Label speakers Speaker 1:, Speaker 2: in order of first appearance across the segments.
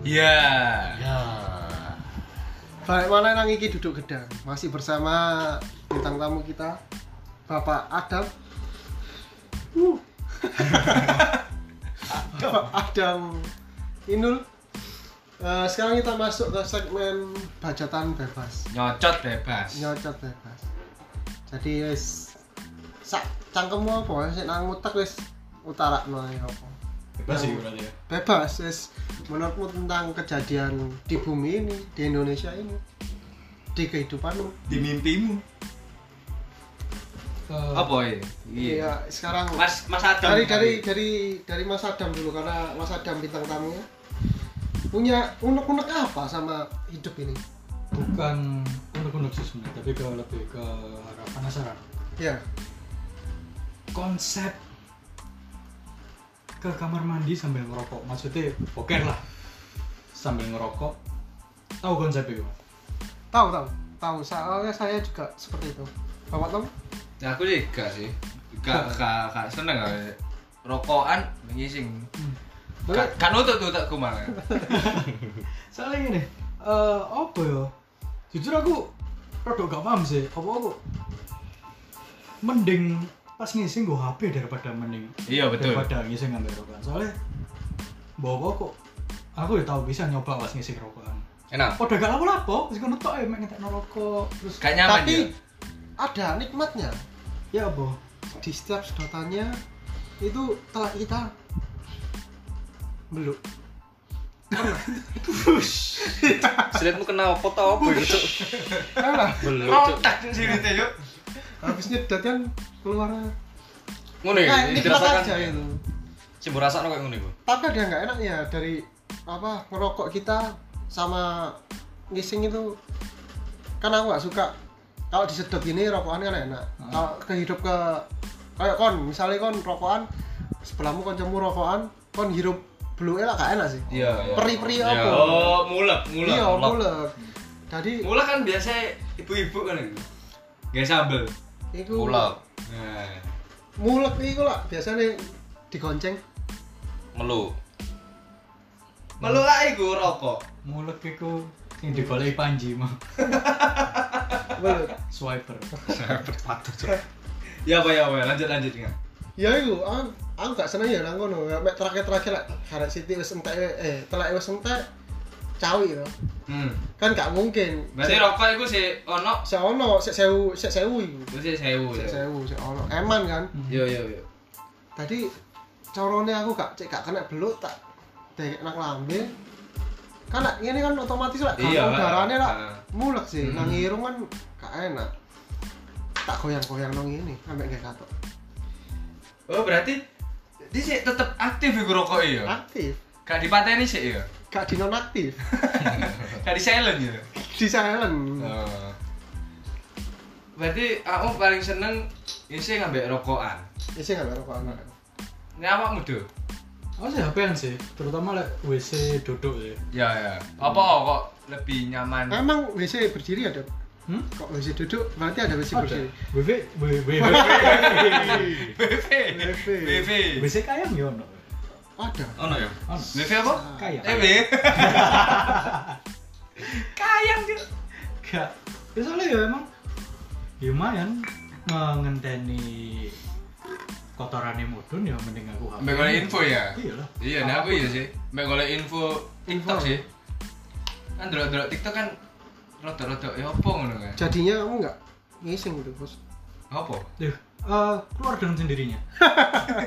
Speaker 1: Iya.
Speaker 2: Ya. Balik mana nang iki duduk gedang. Masih bersama bintang tamu kita Bapak Adam. Uh. Bapak Adam Inul. Eh, sekarang kita masuk ke segmen bacaan bebas.
Speaker 1: Nyocot bebas.
Speaker 2: Nyocot bebas. Jadi wis sak cangkemmu apa wis nang utek wis utarakno ae apa.
Speaker 3: Bebas sih berarti ya.
Speaker 2: bebas Wes. menurutmu tentang kejadian di bumi ini di Indonesia ini di kehidupanmu
Speaker 1: Di mimpimu. Apa ya? Iya.
Speaker 2: iya sekarang
Speaker 1: Mas Mas Adam.
Speaker 2: dari dari dari dari Mas Adam dulu karena Mas Adam bintang tamunya punya unek-unek apa sama hidup ini
Speaker 3: Bukan unek-unek sih sebenarnya, tapi ke lebih ke arah penasaran.
Speaker 2: ya
Speaker 3: Konsep ke kamar mandi sambil ngerokok, maksudnya boker lah. Sambil ngerokok, tahu konsep itu?
Speaker 2: tahu tahu tahu soalnya saya juga seperti itu bapak tahu
Speaker 1: Ya, aku sih gak sih. Gak gak gak seneng gak. Rokokan ngising.
Speaker 2: Boleh.
Speaker 1: Gak gak nutut tuh takku malah.
Speaker 3: Soalnya gini, eh apa ya? Jujur aku produk gak paham sih, apa aku mending pas ngising gue HP daripada mending
Speaker 1: Iya betul.
Speaker 3: daripada ngising ngambil rokokan soalnya bawa kok aku ya tahu bisa nyoba pas ngising rokokan
Speaker 1: Enak.
Speaker 3: Podo gak lapo-lapo, terus kono tok ya mek ngetekno rokok. Terus
Speaker 1: Gak nyaman
Speaker 2: tapi
Speaker 1: ya.
Speaker 2: ada nikmatnya
Speaker 3: ya apa?
Speaker 2: di setiap sedotannya itu telah kita belum
Speaker 4: Silitmu kena apa tau apa gitu.
Speaker 2: Karena
Speaker 4: Belum.
Speaker 1: Rontak sih itu yuk.
Speaker 2: habis nyedat kan keluar
Speaker 4: Ngono
Speaker 1: Eh,
Speaker 4: ya,
Speaker 2: nah, ini
Speaker 4: dirasakan.
Speaker 2: aja itu
Speaker 4: Sing rasakno koyo ngono iku.
Speaker 2: tapi ada nggak enaknya ya, dari apa ngerokok kita sama ngising itu kan aku nggak suka kalau disedot gini rokokan kan enak
Speaker 1: Hmm.
Speaker 2: kalau kehidup ke kayak kon misalnya kon rokokan sebelahmu koncemu rokokan kon hirup blue lah gak enak sih
Speaker 1: Iya. iya.
Speaker 2: peri-peri
Speaker 4: Iya.
Speaker 2: apa
Speaker 1: Oh, mulek, mulek.
Speaker 2: iya
Speaker 4: mulak.
Speaker 2: mulek jadi
Speaker 1: Mulek kan biasa ibu-ibu kan itu. Gak sambel.
Speaker 2: itu
Speaker 4: Pulau
Speaker 1: Nah.
Speaker 2: mulek itu lah biasanya digonceng
Speaker 4: melu.
Speaker 1: Melu lah iku rokok.
Speaker 3: Mulek iku sing digoleki Panji mah,
Speaker 2: mulek
Speaker 3: swiper.
Speaker 1: Ya apa ya apa, lanjut lanjut ya.
Speaker 2: ya itu aku aku gak seneng ya nang kono Ya, mek terakhir terakhir lah harap siti wis entek we- eh telak wis entek cawi ya
Speaker 1: Hmm.
Speaker 2: kan gak mungkin
Speaker 1: Berarti rokok iku sih ono
Speaker 2: sik ono sik sewu sik sewu iku
Speaker 1: itu sih sewu. ya?
Speaker 2: sik sewu sik ono eman kan
Speaker 1: Yo yo yo.
Speaker 2: tadi corone aku gak cek gak kena belut tak dek nang lambe kan nak- ini kan otomatis lah
Speaker 1: Iya,
Speaker 2: kan udarane lah
Speaker 1: ah.
Speaker 2: mulek sih
Speaker 1: Hmm.
Speaker 2: nang irung kan gak enak tak goyang-goyang nang ini sampe gak katok
Speaker 1: Oh berarti dia sih tetep aktif iku rokok ya.
Speaker 2: aktif
Speaker 1: Gak dipateni sih ya.
Speaker 2: gak dinonaktif
Speaker 1: Gak di silent ya.
Speaker 2: di silent
Speaker 1: Oh. Berarti aku paling seneng isi ngambil rokokan.
Speaker 2: Isi nggak rokok
Speaker 1: Hmm.
Speaker 2: anak?
Speaker 1: Ini awakmu muda?
Speaker 3: Aku Oh, sih HP-an sih, terutama lek WC duduk ya.
Speaker 1: Ya ya. Apa kok lebih nyaman?
Speaker 2: Emang WC berdiri ada?
Speaker 3: Hmm? Oh,
Speaker 2: Kok WC duduk? Berarti ada WC
Speaker 3: Ada.
Speaker 2: berdiri.
Speaker 3: WC WC
Speaker 1: BV.
Speaker 2: BV.
Speaker 1: BV.
Speaker 3: WC kayang ya ono.
Speaker 2: Ada.
Speaker 1: Oh,
Speaker 2: Ah.
Speaker 4: Ono ya.
Speaker 3: Ono.
Speaker 1: BV apa? Eh,
Speaker 3: Kayang.
Speaker 1: BV. Kayang dia.
Speaker 3: Gak. Ya soalnya ya emang ya lumayan eh, ngenteni kotorane mudun ya mending aku HP.
Speaker 1: Ambil golek info ya.
Speaker 3: Iya lah.
Speaker 1: Iya, nah aku iya sih. Mbak golek info TikTok
Speaker 2: Info.
Speaker 1: sih. Kan delok-delok TikTok kan rada-rada ya apa ngono kan.
Speaker 2: Jadinya kamu nggak ngising gitu bos?
Speaker 1: Apa?
Speaker 3: Duh,
Speaker 1: Oh.
Speaker 3: eh, keluar dengan sendirinya.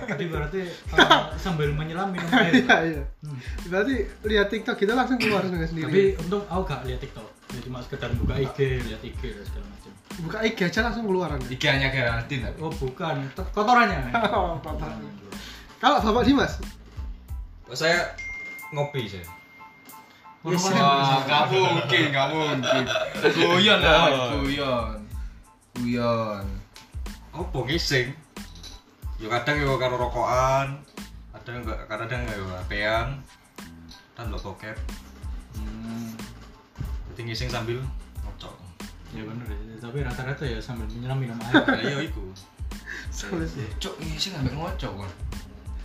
Speaker 3: Jadi berarti eh, sambil menyelam minum air.
Speaker 2: Iya iya.
Speaker 3: Hmm.
Speaker 2: Berarti lihat TikTok kita langsung keluar dengan sendiri.
Speaker 3: Tapi untung aku gak lihat TikTok. Jadi cuma sekedar buka IG, lihat IG dan segala macam.
Speaker 2: Buka IG aja langsung keluar anda.
Speaker 1: Iki hanya Geraldine tapi.
Speaker 3: Oh bukan, T- kotorannya.
Speaker 2: Oh, bapak. Kalau bapak Dimas,
Speaker 4: Saya ngopi sih.
Speaker 3: Ngono
Speaker 2: Yes,
Speaker 3: wae.
Speaker 1: Wah, gak mungkin, gak mungkin. Guyon lah, guyon. Guyon.
Speaker 4: Opo ngising? Ya kadang yo karo rokokan, kadang enggak kadang ya enggak yo HP-an. Dan lo Kan bokep.
Speaker 3: Hmm,
Speaker 4: Jadi ngising sambil ngocok.
Speaker 3: Ya bener, ya. tapi rata-rata ya sambil menyelam minum air.
Speaker 4: Ya iya iku.
Speaker 1: Iya,
Speaker 2: Sampai sih.
Speaker 1: Cuk, ngisi ngambil ngocok kan.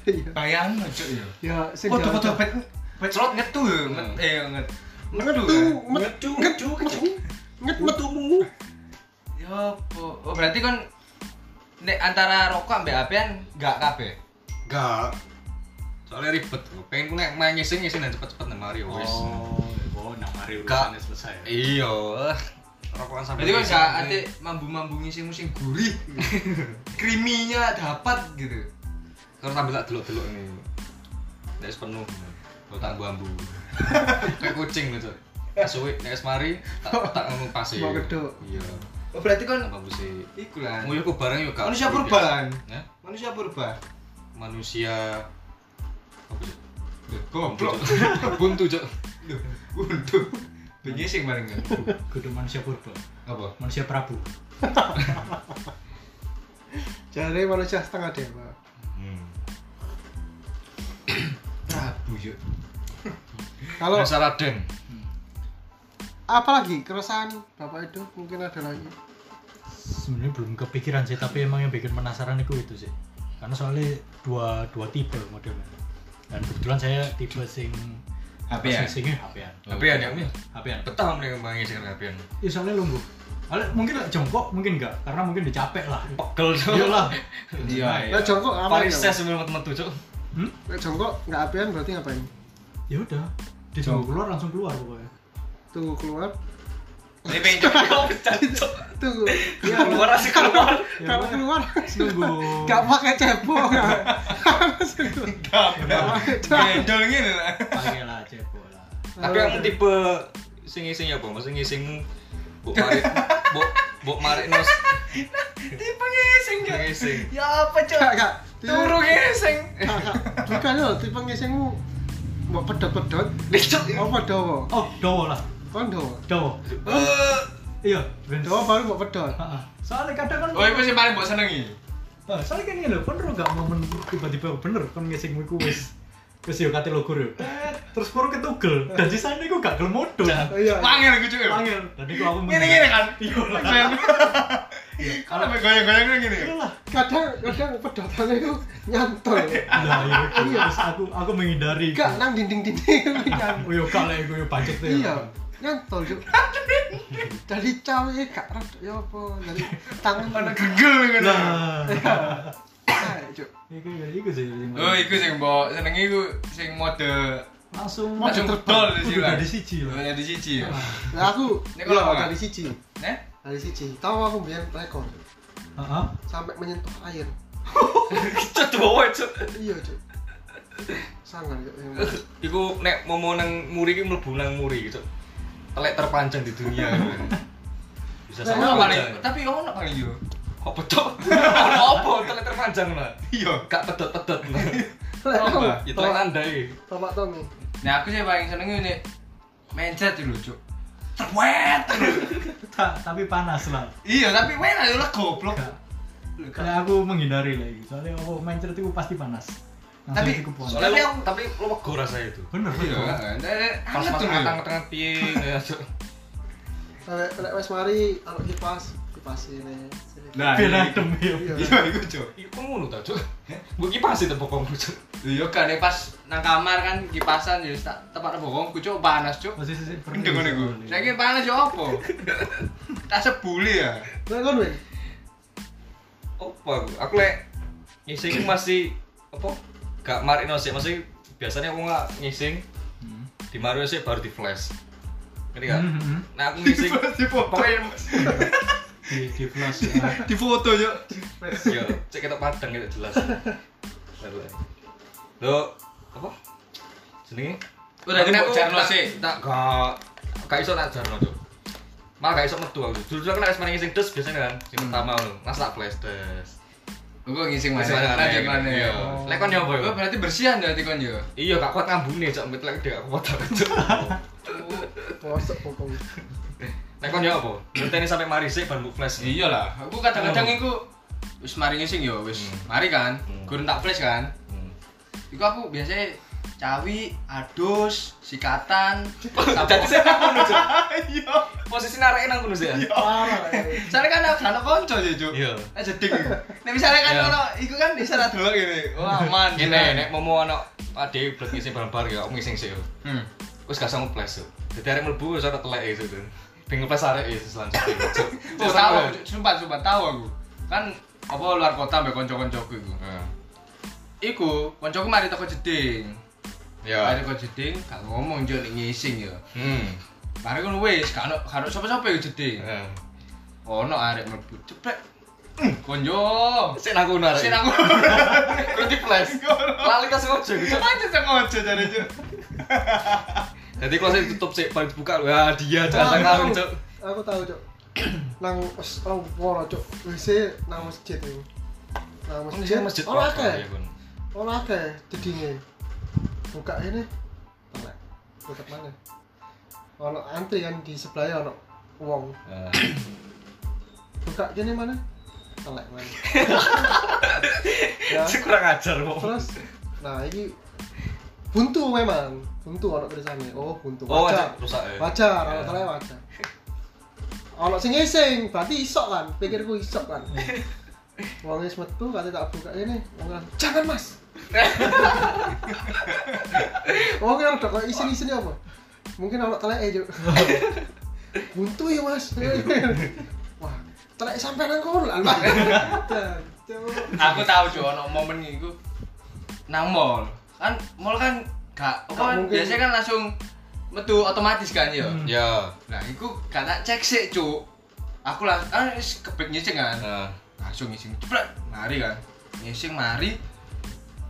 Speaker 2: Iya.
Speaker 1: Bayangno cuk ya.
Speaker 2: Ya, sing
Speaker 1: Foto-foto
Speaker 2: jalan-
Speaker 1: bet Petrot ngetu ya, nget- eh nget. Ngetu.
Speaker 2: Ngetu.
Speaker 1: kan?
Speaker 2: Met-
Speaker 4: Ngedu,
Speaker 2: nget-
Speaker 4: ngedu,
Speaker 2: metu. Nget metu.
Speaker 4: metumu
Speaker 1: Ya apa? Oh, berarti kan nek antara rokok ambek apean enggak kabeh.
Speaker 4: Enggak Soalnya ribet gua. Pengen ku nek main ngising ngising dan cepet-cepet nih Mario wis
Speaker 3: Oh, oh, nah mari
Speaker 4: Gak.
Speaker 3: urusannya selesai. ya.
Speaker 4: Iya eh. Rokokan sampai
Speaker 1: Berarti kan
Speaker 4: ngising,
Speaker 1: enggak
Speaker 4: eh.
Speaker 1: ate mambu-mambungi sing musim gurih. Kriminya dapat gitu.
Speaker 4: Terus sambil tak delok-delok nih Nek wis penuh Lo tak ambu-ambu Kayak kucing gitu Suwi, nek wis mari Tak tak ngomong pasir
Speaker 2: Mau geduk.
Speaker 4: Iya
Speaker 1: Oh, berarti kan
Speaker 4: Ambu sih
Speaker 1: iku
Speaker 2: Nah.
Speaker 1: lah.
Speaker 4: Nguyuhku bareng yuk gak
Speaker 1: Manusia
Speaker 4: suwi,
Speaker 1: purba
Speaker 4: Des.
Speaker 1: kan?
Speaker 4: Hah?
Speaker 1: Manusia purba.
Speaker 4: Manusia Apa sih?
Speaker 1: Goblok.
Speaker 4: Buntu cok
Speaker 1: Duh, Untuk penyising paling kan.
Speaker 3: Kudu manusia purba,
Speaker 1: Apa?
Speaker 3: manusia Prabu.
Speaker 2: Jare manusia setengah dewa.
Speaker 1: Prabu yuk.
Speaker 2: Kalau
Speaker 4: Kalau Raden
Speaker 2: apalagi keresahan Bapak itu mungkin ada lagi.
Speaker 3: Sebenarnya belum kepikiran sih, tapi emang yang bikin penasaran itu itu sih. Karena soalnya dua dua tipe modelnya. Dan kebetulan saya tipe sing
Speaker 1: HP-an?
Speaker 3: Singnya HP-an.
Speaker 4: Tapi ya nek
Speaker 3: HP-an.
Speaker 4: betah mending ngomongin sing rapian.
Speaker 3: Ya soalnya lumbuh. Ale- mungkin lah jongkok, mungkin enggak, karena mungkin udah capek lah.
Speaker 4: Pegel cok.
Speaker 3: Iya lah.
Speaker 1: Iya.
Speaker 2: Lah jongkok aman.
Speaker 4: Parises
Speaker 2: ya.
Speaker 4: sebelum metu cok.
Speaker 3: Hmm?
Speaker 2: Lah jongkok nggak apian berarti ngapain?
Speaker 3: Ya udah. Ditunggu keluar langsung keluar pokoknya.
Speaker 2: Tunggu keluar.
Speaker 1: Ini pengen coba
Speaker 2: Tunggu.
Speaker 1: Iya, keluar asik keluar. Iya.
Speaker 3: Ya,
Speaker 2: Kalau
Speaker 3: pokoknya
Speaker 2: keluar
Speaker 3: Nunggu.
Speaker 2: nggak pakai cebok.
Speaker 1: Gendol gini lah.
Speaker 3: Pakai lah cebok lah.
Speaker 4: Tapi kamu tipe sing ngising apa? Maksud ngising mbok marik mbok mbok marik nos
Speaker 1: Tipe ngising Cok.
Speaker 4: ngising.
Speaker 1: Ya apa
Speaker 2: Nggak,
Speaker 1: cok?
Speaker 2: nggak.
Speaker 1: Turu ngising.
Speaker 2: Nggak, nggak. Bukan loh, tipe ngisingmu mau pedot-pedot.
Speaker 1: Lecok.
Speaker 2: Apa dowo?
Speaker 3: Oh, dowo lah.
Speaker 2: Kon dowo.
Speaker 3: Dowo.
Speaker 1: Eh,
Speaker 3: Iya, ben
Speaker 2: Dowo baru mau pedot.
Speaker 3: Heeh. Soalnya kadang kan
Speaker 1: Oh, itu sih paling mbok senengi.
Speaker 3: Nah, soalnya kan ngene lho, kan ro gak momen tiba-tiba bener kan ngesingmu iku wis wis yo kate logur yo. Eh, Terus baru ketugel. Dan sisane iku gak gelem modho.
Speaker 2: Iya.
Speaker 1: Wangil aku cok. Wangil.
Speaker 3: Angel. Dan iku aku
Speaker 1: Gini gini kan.
Speaker 3: Iya lah.
Speaker 1: Kalau goyang-goyang gini.
Speaker 3: Iya lah.
Speaker 2: Kadang-kadang pedotannya itu nyantol.
Speaker 3: Nah, iya, iya. Terus aku aku menghindari.
Speaker 2: Enggak, nang dinding-dinding itu nyantol.
Speaker 3: Oh yo gak lah iku yo pancet tuh.
Speaker 2: Iya, nyantol yuk. Dari cawe gak reduk ya apa, dari tangan
Speaker 1: Mana gegel ngono.
Speaker 3: Nah.
Speaker 2: Ayo, Cuk.
Speaker 3: Iku ya iku sih. yang
Speaker 1: Oh, iku sing mbok senengi iku sing mode
Speaker 3: langsung
Speaker 1: langsung bedol
Speaker 3: terbang.
Speaker 1: di sini
Speaker 3: Udah
Speaker 1: lah.
Speaker 3: di siji lah.
Speaker 1: Udah di siji. ya.
Speaker 2: Nah, aku
Speaker 1: Ini kalau apa?
Speaker 2: iya, dari siji,
Speaker 1: Nah,
Speaker 2: dari siji. Tahu aku biar rekor
Speaker 3: Nah, Heeh.
Speaker 2: sampai menyentuh air.
Speaker 4: Cok bawa cok.
Speaker 2: Iya, Cuk. Sangat Cuk.
Speaker 4: Iku nek momo nang muri iki mlebu nang muri gitu. Telek terpanjang di dunia.
Speaker 3: Iya.
Speaker 4: Bisa
Speaker 2: Nah,
Speaker 4: sama
Speaker 1: paling
Speaker 4: paling
Speaker 1: tapi ono paling yo.
Speaker 4: kok pedok. Ono apa telek terpanjang lah.
Speaker 1: Iya.
Speaker 4: Gak pedot-pedot.
Speaker 2: Lek aku,
Speaker 1: Apa?
Speaker 4: Itu landai.
Speaker 2: Bapak Tommy.
Speaker 1: Nah, aku sih paling senengi nek mindset dulu, Cuk. Terwet.
Speaker 3: Ta- tapi panas lah.
Speaker 1: Iya, tapi main ayo lah goblok.
Speaker 3: Gak. Kayak aku menghindari lah iku. Soalnya oh main cerita iku pasti panas. Langsung
Speaker 1: Tapi-
Speaker 3: iku panas.
Speaker 4: Soalnya
Speaker 1: Tapi
Speaker 4: lu-
Speaker 1: aku-
Speaker 4: tapi lu wego rasanya itu.
Speaker 3: bener
Speaker 1: Iya,
Speaker 3: bener.
Speaker 1: kan? Eh,
Speaker 4: Pas
Speaker 1: anget
Speaker 4: pas
Speaker 1: tuh, Cuk.
Speaker 4: tang tengah piye ya Cok.
Speaker 2: Lek lek wes mari kalau kipas, kipas ini. sini.
Speaker 1: Nah,
Speaker 3: Biar
Speaker 1: iya,
Speaker 3: adem ya.
Speaker 1: iya. Iya, iku, Cuk.
Speaker 4: Iku ngono ta, Cuk. Mbok iki pasti tepokongku, Cuk.
Speaker 1: Iya kan nek pas nang kamar kan kipasan jadi tak tempat bohongku cuk panas cuk.
Speaker 3: Masih sih pernah.
Speaker 1: Gendeng ngene Iya, iku. Saiki panas yo opo? Tak sebuli ya.
Speaker 2: Lek kon weh.
Speaker 4: Apa aku? Aku lek ngising masih apa? Gak marino sih, masih biasanya aku gak ngising
Speaker 3: Hmm.
Speaker 4: di Mario sih baru di flash. Ngerti gak?
Speaker 3: Hmm, hmm. ya?
Speaker 4: Nah, aku ngising
Speaker 1: Di foto.
Speaker 4: pokoknya
Speaker 3: Di di flash. ah.
Speaker 1: Di foto yo.
Speaker 4: yo iya, cek ketok padang ketok jelas. Lo apa? Jenenge?
Speaker 1: Udah kena
Speaker 4: Aku
Speaker 1: jarno
Speaker 4: tak-
Speaker 1: sih.
Speaker 4: Tak gak gak iso tak jarno, Cuk. Malah gak iso metu aku. Dulu aku nek wis maring sing des biasanya kan,
Speaker 3: Hmm.
Speaker 4: sing pertama ngono. Mas tak flash des.
Speaker 1: Gua ngising mana?
Speaker 4: Masih ada
Speaker 1: Lanjut
Speaker 4: aneh.
Speaker 1: mana?
Speaker 4: Iya. Lek kon nyoba yo.
Speaker 1: Oh, berarti bersihan berarti kon yo.
Speaker 4: Iya, gak kuat ngambune, cok. Mbet lek gak kuat aku, kan, cok.
Speaker 2: Mosok pokoknya.
Speaker 4: Lek kon yo apa? Ngenteni sampe mari sik ban mbok flash.
Speaker 1: Iya lah. Aku kadang-kadang iku wis mari ngising yo wis.
Speaker 4: Hmm.
Speaker 1: Mari kan.
Speaker 4: Hmm.
Speaker 1: Gurun tak flash kan.
Speaker 4: Hmm.
Speaker 1: Iku aku biasanya cawi, adus, sikatan,
Speaker 4: Jadi
Speaker 1: sapu.
Speaker 4: saya nang kono, cok.
Speaker 1: Iya.
Speaker 4: Posisi nareke nang kono sih. ya?
Speaker 2: Iya. Parah. Lek.
Speaker 1: Soalnya kan aku anak konco aja cuk.
Speaker 4: Iya.
Speaker 1: Eh jeding. Nek misalnya kan
Speaker 4: Iya.
Speaker 1: ono iku kan bisa ra delok ngene. Wah aman.
Speaker 4: Ngene, nek momo ana ade blek ngising bareng-bareng ya, aku ngising sih. yo.
Speaker 1: Hmm.
Speaker 4: Wis gak sanggup ples. yo. Dadi arek mlebu wis ora telek e, itu. Ping ples arek yo selanjutnya. Cuk.
Speaker 1: Oh, tahu, aku, sumpah sumpah tahu aku. Kan apa luar kota mbek kanca-kancaku iku.
Speaker 4: Heeh.
Speaker 1: Iku kancaku mari teko jeding. Mari
Speaker 4: Ya.
Speaker 1: teko jeding, gak ngomong yo ning ngising yo.
Speaker 4: Hmm.
Speaker 1: Mari ngono wis, gak ono gak ono sapa-sapa yo jeding.
Speaker 4: Heeh.
Speaker 1: Ono arek mlebu ceplek. Konjo.
Speaker 4: Sik aku narik.
Speaker 1: Sik aku.
Speaker 4: Kunti flash. Lali tas ngojo. gitu.
Speaker 1: Cepat sengaja jare jare.
Speaker 4: Jadi kalau saya tutup sih, paling dibuka, wah dia
Speaker 2: tahu.
Speaker 4: jangan ngarung cok.
Speaker 2: aku tahu cok nang wis orang poro cok wis e nang masjid ini nang masjid iya,
Speaker 4: masjid
Speaker 2: ora
Speaker 4: kotor,
Speaker 2: akeh
Speaker 4: ya, Bun.
Speaker 2: ora akeh jedinge buka ini telek tutup mana ono antri kan di sebelahnya ono wong
Speaker 4: Eh,
Speaker 2: buka gini mana telek mana ya
Speaker 4: Cik kurang ajar kok.
Speaker 2: terus nah ini buntu memang buntu ono tulisannya oh buntu
Speaker 4: Oh,
Speaker 2: wajar
Speaker 4: wajah rusak ya.
Speaker 2: wajar ono
Speaker 4: Ya.
Speaker 2: telek wajar ono sing ngising berarti isok kan pikirku isok kan wong wis metu kate tak buka ini wong bilang, jangan mas wong yang udah kok isin isin apa mungkin ono telek aja buntu ya mas wah telek sampai nang kono lah Mas. Dan, cuk.
Speaker 1: Aku tahu cok ono momen iku nang mall. Kan mall kan gak apa kan
Speaker 2: mungkin.
Speaker 1: biasanya kan langsung metu otomatis kan yo.
Speaker 3: Hmm.
Speaker 4: Ya.
Speaker 1: Nah, iku gak tak cek sik cuk. Aku lah kan wis kebek ngising kan.
Speaker 4: Nah,
Speaker 1: langsung ngising ceplek mari kan ngising mari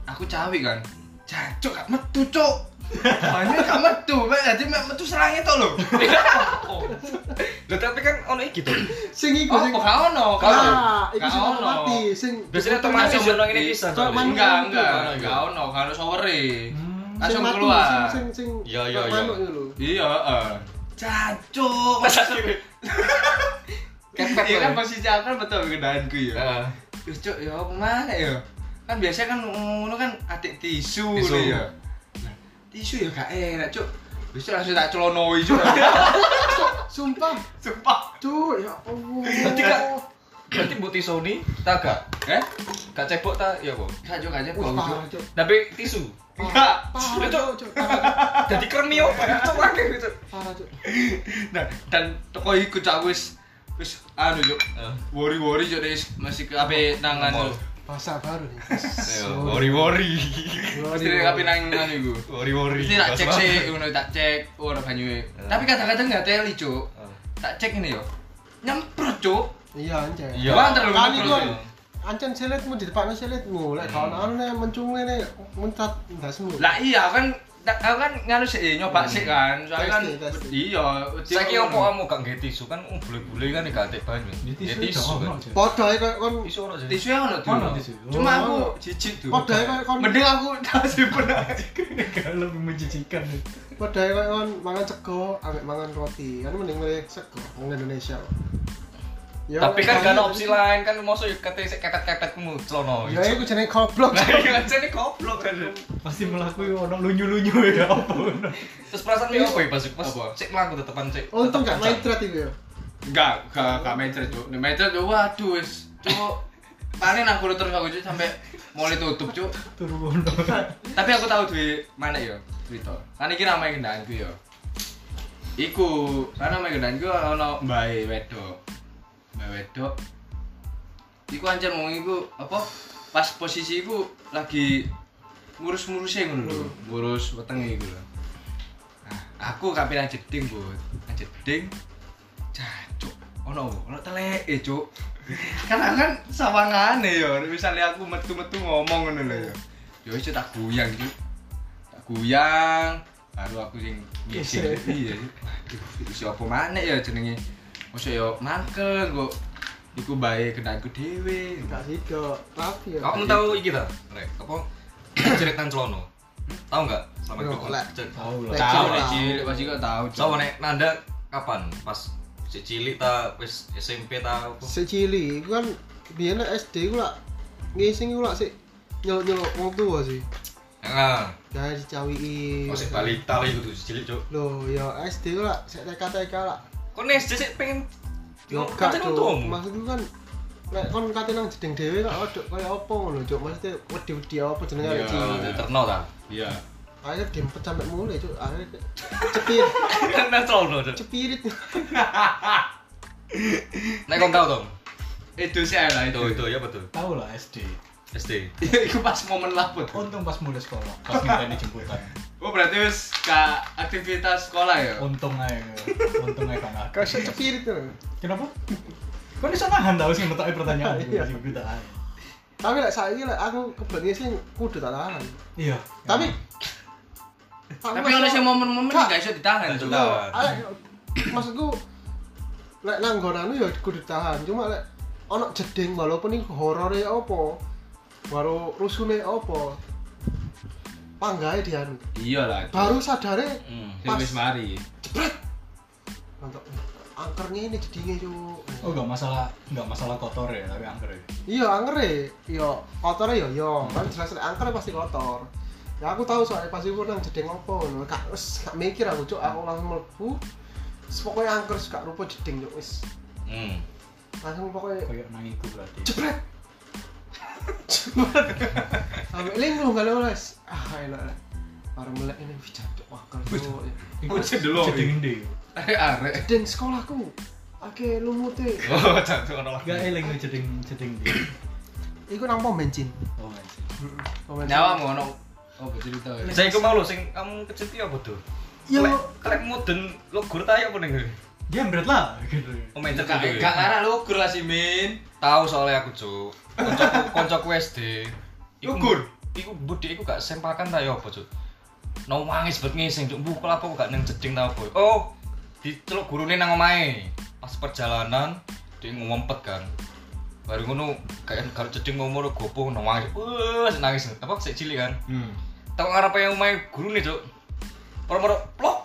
Speaker 1: aku cawi kan jancuk gak metu cuk banyak gak metu mek jadi mek metu serangnya to lho
Speaker 4: Loh, tapi kan ono iki to.
Speaker 2: sing
Speaker 1: oh
Speaker 2: iku sing
Speaker 1: kok gak ono gak ono
Speaker 2: Nah, iku
Speaker 1: Gak
Speaker 2: sing
Speaker 1: ono.
Speaker 2: otomatis sing betul-
Speaker 4: Biasanya otomatis ya.
Speaker 1: Langsung
Speaker 4: yo nang ngene pisan.
Speaker 2: Cok, man-
Speaker 1: enggak enggak
Speaker 4: Ono,
Speaker 1: gak ono gak ono sore
Speaker 3: Hmm.
Speaker 1: langsung
Speaker 2: mati,
Speaker 1: keluar
Speaker 2: Sing sing sing
Speaker 4: Iya, iya, iya.
Speaker 2: manuk itu lho.
Speaker 1: iya heeh jancuk masa kiri
Speaker 4: Kepet
Speaker 1: iya
Speaker 4: lho.
Speaker 1: kan posisi aku kan betul kendaanku ya
Speaker 4: Heeh.
Speaker 1: Terus cuk, ya apa mana ya? Kan biasanya kan ngono kan adik tisu
Speaker 4: Tisu.
Speaker 1: tisu. ya. Nah, tisu ya gak enak, cuk. Wis Cuk, langsung tak celonoi cuk.
Speaker 2: Sumpah,
Speaker 1: Sumpah.
Speaker 2: cuk, ya Allah.
Speaker 4: Berarti gak berarti mbok tisoni ta gak?
Speaker 1: Eh?
Speaker 4: Gak cebok ta ya apa?
Speaker 1: Gak cuk, gak cuk.
Speaker 2: Wah, parah, cuk.
Speaker 4: Tapi tisu.
Speaker 1: Enggak.
Speaker 2: Parah,
Speaker 4: Sulit,
Speaker 2: cuk, cuk. Parah,
Speaker 4: Jadi kremi opo cok akeh gitu.
Speaker 2: parah, cuk.
Speaker 1: Nah, dan toko iku cak wis wis anu cuk.
Speaker 4: Eh.
Speaker 1: Wori-wori cuk wis masih ke ape nangan
Speaker 4: Mall.
Speaker 1: cuk.
Speaker 2: Bahasa baru nih.
Speaker 4: Wori-wori.
Speaker 1: Mesti nek ape nang nang iku.
Speaker 4: Wori-wori. Eh.
Speaker 1: Mesti tak cek sih, ngono tak cek ora banyuwe. Tapi kadang-kadang gak teli cuk. Tak cek ini yo. Nyemprot cuk.
Speaker 2: Iya, anjay.
Speaker 4: Iya.
Speaker 1: Banter lho
Speaker 2: Kan iku
Speaker 1: nyemprot. Cuk.
Speaker 2: ancen selitmu di depan selitmu, lek
Speaker 4: Hmm.
Speaker 2: kawan anu nih mencung nih mencat ndasmu.
Speaker 1: Lah iya kan tak- aku kan nganu sih nyoba sih kan. Soalnya kan
Speaker 2: Testing, testing.
Speaker 1: iya.
Speaker 4: Saiki opo kamu gak nggih tisu kan um, bule-bule kan gak atik banyu.
Speaker 3: Ini
Speaker 4: Ya,
Speaker 3: tisu itu ono,
Speaker 4: kan.
Speaker 3: Cok.
Speaker 2: Podo ae koyo kon
Speaker 4: Tisu ora jadi.
Speaker 1: Tisu yang ono tuh.
Speaker 3: Ono tisu.
Speaker 1: Cuma
Speaker 2: Oh.
Speaker 1: aku jijik tuh.
Speaker 2: Padahal kan- kan-
Speaker 1: Mending aku tak simpen aja.
Speaker 3: Kalau lebih menjijikan nih.
Speaker 2: podo ae koyo kon mangan sego ambek mangan roti. Kan mending milih sego wong Indonesia. kok. Ya,
Speaker 4: Tapi
Speaker 2: lek
Speaker 4: kan gak
Speaker 2: kami-
Speaker 4: ada opsi lain kan mosok kate kepet-kepetmu celono.
Speaker 2: Ya iku jenenge goblok.
Speaker 4: Oh, gitu. Lah iya aja nih goblok kan.
Speaker 3: Pasti melakui ono lunyu-lunyu ya apa ono.
Speaker 4: Terus perasaan nih apa ya pas pas
Speaker 1: Apa?
Speaker 4: cek mlaku tetepan cek.
Speaker 2: Untung gak
Speaker 4: tetep
Speaker 2: main thread Oh, itu ya.
Speaker 1: Enggak, enggak enggak meter cuk. Nek meter cuk waduh wis. Cuk paling aku terus aku cuk sampai mulai tutup cuk.
Speaker 3: Turu ono.
Speaker 1: Tapi aku tahu duwe mana yo cerita. Kan iki ramai kendaanku yo. Iku, kan ramai kendaanku ono mbae wedok. Mbae wedok. Iku anjir mung iku apa pas posisi iku lagi ngurus-ngurusnya ngono
Speaker 2: Hmm.
Speaker 1: lho, ngurus wetenge iku lho. Nah, aku kapiran jeding, Bu. Nang jeding jancuk. Ono apa? ono teleke, Cuk. kan aku kan sawangane yo, misalnya aku metu-metu ngomong ngono lho yo. Yo wis Cuk, tak goyang, Cuk. Tak goyang, baru aku sing ngising. Iya. Cuk. Waduh, itu siapa maneh ya jenenge? Mosok yo mangkel kok. Iku bae kenanku dhewe.
Speaker 2: Gak sido, rapi ya.
Speaker 4: Kamu tahu iki ta? Rek, apa ceritan celono? Tahu enggak? Selama
Speaker 2: Yo,
Speaker 4: itu.
Speaker 2: lek.
Speaker 4: Tahu.
Speaker 3: Tahu
Speaker 2: lah.
Speaker 3: lah.
Speaker 1: Tahu
Speaker 2: Tahu.
Speaker 1: nek cilik pasti kok tahu. Cuk.
Speaker 4: Sama nek Nanda kapan? Pas si cilik ta wis SMP ta apa?
Speaker 2: Secili, iku kan biyen nek SD ku lak ngising ku lak sik nyeluk-nyeluk wong tua sih.
Speaker 4: Heeh.
Speaker 2: Gawe dicawiki.
Speaker 4: Oh sik balita lagi kudu si cilik, Cuk.
Speaker 2: Loh, ya SD ku lak sik TK-TK lak.
Speaker 4: Kok nek SD sik pengen
Speaker 2: Yo
Speaker 4: Kan
Speaker 2: gak
Speaker 4: sik
Speaker 2: cuk.
Speaker 4: untukmu.
Speaker 2: Maksudku kan nek kon kate nang jeding dhewe kok wedok kaya apa ngono cuk maksudnya wedi-wedi apa jenenge
Speaker 1: Iya.
Speaker 2: arek cilik
Speaker 4: Terno Oh, ta.
Speaker 1: iya
Speaker 2: akhirnya diempet sampe mulai cuk akhirnya cepir
Speaker 4: Terno terno.
Speaker 2: cepirit
Speaker 4: Nek kon tau dong.
Speaker 1: itu sih lah
Speaker 4: Itu
Speaker 1: itu
Speaker 4: itu ya betul.
Speaker 3: Tahu lah SD.
Speaker 4: SD.
Speaker 1: Ya, itu pas momen laput
Speaker 3: Untung pas mulai sekolah, pas ngenteni jemputan.
Speaker 1: oh berarti wis ke aktivitas sekolah ya
Speaker 3: Untung aja, untung aja kan aku.
Speaker 2: kaya cepirit tuh
Speaker 3: Kenapa? Kau bisa nahan tau sih ngetokin pertanyaan gue
Speaker 2: Iya.
Speaker 3: sih gue tak tahan.
Speaker 2: tapi lek saiki lek aku kebetulan sih kudu tak tahan
Speaker 3: Iya.
Speaker 2: tapi
Speaker 4: Hmm.
Speaker 1: tapi oleh si momen-momen
Speaker 2: Kak.
Speaker 1: gak bisa ditahan
Speaker 4: Gak
Speaker 1: tuh
Speaker 4: bisa.
Speaker 2: Loh, ale- maksudku lek nang nggonane ya kudu ditahan cuma lek ana jeding walaupun iku horore apa baru rusune apa panggae dianu
Speaker 1: iya lah itu.
Speaker 2: baru sadare
Speaker 4: Hmm.
Speaker 1: Sing wis mari
Speaker 2: jebret mantap angkernya ini jedinge yo
Speaker 3: Oh gak masalah, gak masalah kotor ya, tapi angker ya.
Speaker 2: iya angkere yo kotore yo yo kan jelas lek angkere pasti kotor ya aku tahu soalnya pasti aku nang jeding apa ngono kak wis gak mikir aku cuk aku langsung mlebu Wis, pokoknya angker wis gak rupa jeding yo wis
Speaker 4: Hmm.
Speaker 2: langsung pokoknya
Speaker 3: Kayak nangiku berarti.
Speaker 2: jebret jebret sampai linglung kali les ah enak lah baru melek ini wih jatuh wakil tuh
Speaker 3: Iku
Speaker 1: Oh, cek dulu,
Speaker 3: jadi
Speaker 1: Wi.
Speaker 3: ngendi?
Speaker 1: arek
Speaker 2: jeding sekolahku oke lumute
Speaker 4: Oh, jantung ono lagi.
Speaker 3: Gak eling gue jeding jeding di.
Speaker 2: iku nang pom bensin
Speaker 3: Oh my god.
Speaker 2: Pom bensin.
Speaker 1: nyawa ngono oh cerita ya
Speaker 4: Saya iku mau lho sing kamu kecil ki apa tuh?
Speaker 2: Yo.
Speaker 4: Lek lek mudun lo gur ta ya apa ning.
Speaker 3: Jembret lah gitu.
Speaker 4: Pemain
Speaker 1: Gak gak arah lu ukur lah si Min
Speaker 4: Tahu soalnya aku cuk. Koncoku koncoku SD. Iku-
Speaker 1: Ukur?
Speaker 4: Iku budi iku gak sempakan ta ya apa cuk. No mangis bet ngising cuk. Bu kelapa kok gak neng jeding ta boy. Oh, diceluk gurune nang omahe. Pas perjalanan dia ngumpet kan. Baru ngono kayak kalau jeding ngomong gopo no mangis. Wes nangis. Apa sik cilik kan.
Speaker 1: hmm.
Speaker 4: Tau ngarepe omahe gurune cuk. Moro-moro plok.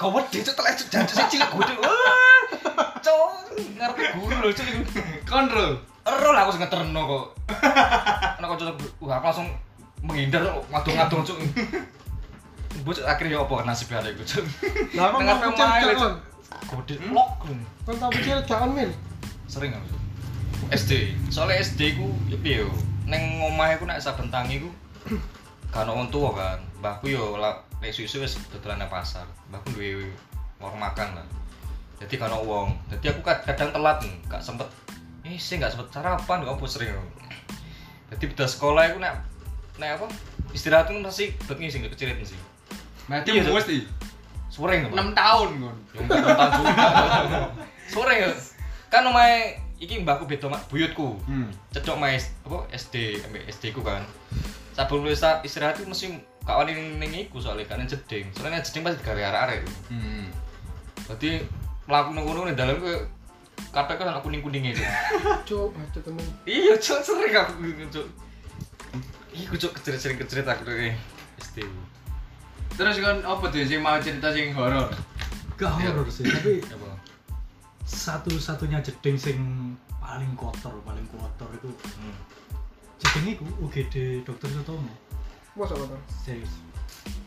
Speaker 4: Kau wedi cuk telek cuk jatuh sik cilik gudeg. Wah. Cuk ngarepe guru lho cuk iku.
Speaker 1: kontrol
Speaker 4: Ero lah aku sing ngeterno kok. Ana kanca wah aku langsung menghindar ngadung-ngadung cuk. Mbok cuk akhirnya ya apa nasib arek iku cuk.
Speaker 2: Lah, apa
Speaker 4: Dengar
Speaker 2: mau
Speaker 4: pemain,
Speaker 2: pecah,
Speaker 4: lho,
Speaker 2: Cuk?
Speaker 4: Cuk. Gudeg plok. lho.
Speaker 2: kon tau kecil Kan gak on min
Speaker 4: Sering aku. Cuk. SD. Soalnya SD ku ya piye yo. Neng omahe ku nek saben tangi ku kan wong tuwa kan. Mbahku yo la- nek susu wis dodolan nang pasar. Mbahku duwe warung makan lah. Jadi kan wong. Jadi aku kad- kadang telat nih, gak sempet. Eh, sih gak sempet sarapan kok apa sering. aku. Jadi beda sekolah aku nek nek apa? Istirahat ku masih bet ngising kecilit sih.
Speaker 1: berarti
Speaker 4: Iya, Cuk.
Speaker 1: mesti
Speaker 4: Sore
Speaker 1: 6
Speaker 4: ngono.
Speaker 1: tahun kon
Speaker 4: Yang tentang juga. Sore ya. Kan omahe iki mbahku beda mak buyutku.
Speaker 1: hmm.
Speaker 4: Cedok mah S- apa SD ambek SD ku kan. Sabun lu istirahat istirahat ku mesti kawan ning ning iku soalnya kan jeding. Soalnya nek jeding pasti gara arek-arek.
Speaker 1: Hmm.
Speaker 4: Berarti mlaku nang kono ning dalem ku kabeh kan aku kuning-kuninge itu.
Speaker 2: coba tuh temen
Speaker 4: Iya, cok sering aku gitu, cok. Iku cok kecerit-sering kecerit aku dari SD. ku.
Speaker 1: terus kon apa tuh sing mau cerita sing horor
Speaker 3: Gak
Speaker 4: Iya.
Speaker 3: horor sih, tapi
Speaker 4: Apa?
Speaker 3: satu-satunya jeding sing paling kotor, paling kotor itu
Speaker 4: Hmm.
Speaker 3: jeding iku UGD Dokter Sutomo.
Speaker 2: masa kotor
Speaker 3: Serius.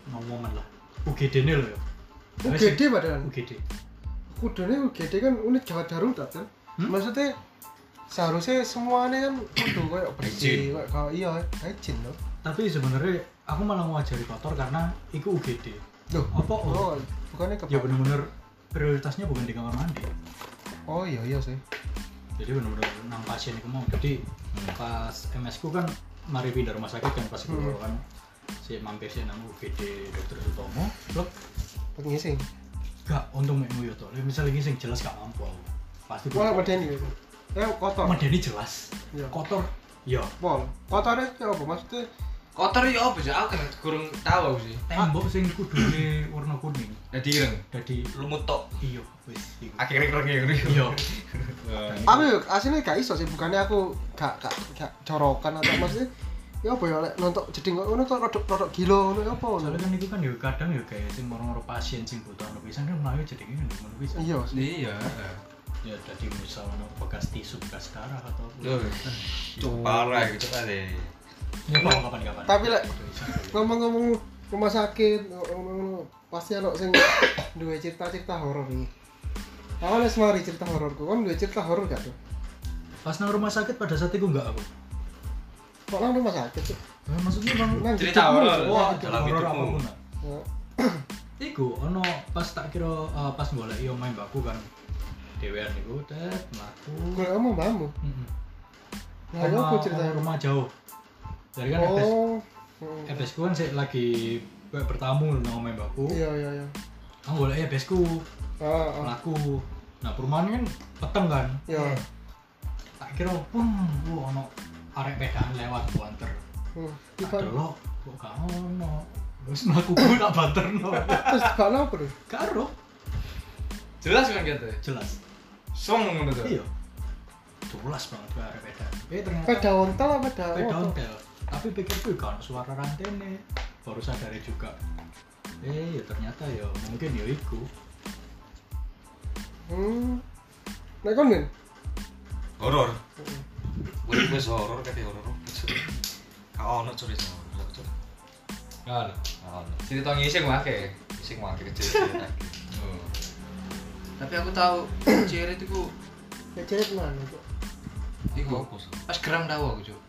Speaker 3: No woman lah. UGD ini loh ya. Tapi sing-
Speaker 2: UGD padahal
Speaker 3: UGD.
Speaker 2: kudune UGD kan unit gawat darurat kan
Speaker 3: Hmm?
Speaker 2: maksudnya seharusnya semuanya kan kudu kayak
Speaker 4: Izin.
Speaker 2: bersih kayak kayak- iya izin loh
Speaker 3: Tapi sebenarnya aku malah mau ajari kotor karena iku UGD.
Speaker 2: loh
Speaker 3: Apa?
Speaker 2: oh bukannya ke
Speaker 3: Ya bener-bener prioritasnya bukan di kamar mandi.
Speaker 2: oh iya iya sih
Speaker 3: Jadi bener-bener nang pasien itu mau. Jadi
Speaker 4: Hmm.
Speaker 3: pas MS ku kan mari pindah rumah sakit kan pas itu
Speaker 2: Hmm.
Speaker 3: kan si mampir sih nang UGD Dokter Sutomo. Blok
Speaker 2: pengising
Speaker 3: Gak, untung mek nguyu to. Lah, Misalnya ini sing jelas gak mampu aku. Pasti
Speaker 2: wah medeni gitu ya kotor
Speaker 3: medeni jelas.
Speaker 2: Iya.
Speaker 3: Kotor. Ya,
Speaker 2: pol kotornya ya apa maksudnya
Speaker 1: kotor ya apa sih aku kan kurang tahu aku sih
Speaker 2: Ah.
Speaker 3: tembok sing kudune warna kuning.
Speaker 1: jadi ireng
Speaker 3: Dadi
Speaker 4: Lumut tok.
Speaker 3: iya wis iku.
Speaker 1: ya.
Speaker 4: Akhirnya keren-keren.
Speaker 3: Iya.
Speaker 2: aku yuk aslinya gak iso sih bukannya aku gak gak gak corokan atau maksudnya ya apa ya lek nonton jeding kok ngono kok rodok rodok gila ngono ya apa ngono?
Speaker 3: Soalnya kan itu kan ya kadang ya kayak sing moro-moro pasien sing butuh ono pisan kan mlayu jadi ngene ngono pisan.
Speaker 2: iya sih
Speaker 1: iya
Speaker 3: Ya dadi misal ono bekas tisu, bekas darah atau apa.
Speaker 4: Loh. Parah gitu kan deh.
Speaker 3: Ya apa, kapan-kapan.
Speaker 2: Tapi, Lek,
Speaker 3: Itu iso.
Speaker 2: ngomong-ngomong rumah sakit ngomong-ngomong, pasti ada sing duwe cerita-cerita Kan horor iki. Awal wis mari cerita hororku, kon duwe cerita horor gak tuh?
Speaker 3: pas nang rumah sakit pada saat itu enggak aku
Speaker 2: kok nang rumah sakit sih
Speaker 3: Nah, maksudnya bang
Speaker 2: Nang
Speaker 1: Cerita
Speaker 2: hidupmu,
Speaker 1: horor.
Speaker 2: wah,
Speaker 3: itu
Speaker 4: Dalam
Speaker 3: horor
Speaker 4: hidupmu.
Speaker 3: apapun lah.
Speaker 2: ya.
Speaker 3: Iku ono pas tak kira eh, pas boleh yo main baku kan. Dewean niku tet mlaku.
Speaker 2: gue ngomong bamu
Speaker 3: Heeh.
Speaker 2: nah ya aku cerita rumah
Speaker 3: rumah jauh. Jadi kan FS,
Speaker 2: oh Hmm.
Speaker 3: FS ku kan sik lagi kayak bertamu nang main baku.
Speaker 2: iya iya iya
Speaker 3: Aku boleh FS ku
Speaker 2: ah ah.
Speaker 3: mlaku. Nah, perumahan kan peteng kan.
Speaker 2: iya
Speaker 3: Tak kira pun lu ono arek pedaan lewat ku anter.
Speaker 2: Hmm.
Speaker 3: Tak
Speaker 2: Tiba-
Speaker 3: delok kok gak ono. Terus mlaku ku tak banterno.
Speaker 2: terus gak apa bro
Speaker 3: Karo
Speaker 1: jelas kan gitu ya
Speaker 3: jelas.
Speaker 1: song ngono tuh
Speaker 3: Iya. Jelas banget gue arek beda. Eh ternyata
Speaker 2: peda ontel apa peda
Speaker 3: beda
Speaker 2: motor?
Speaker 3: ontel. Tapi pikirku ya kan suara rantene. Baru sadar juga. Eh ya ternyata ya mungkin ya iku.
Speaker 2: hmm nah kon men
Speaker 4: horor
Speaker 2: Hmm.
Speaker 4: urip wis horor kate horor gak ono curi horor Cuk.
Speaker 1: Ngono.
Speaker 4: Gak ono
Speaker 1: Nah, cerita ngising wae
Speaker 4: sing mau kecil
Speaker 1: Oh. Tapi aku tahu Cirit itu
Speaker 2: ya cerit mana kok
Speaker 1: iku
Speaker 4: Apa sih?
Speaker 1: pas geram tahu aku, Cuk.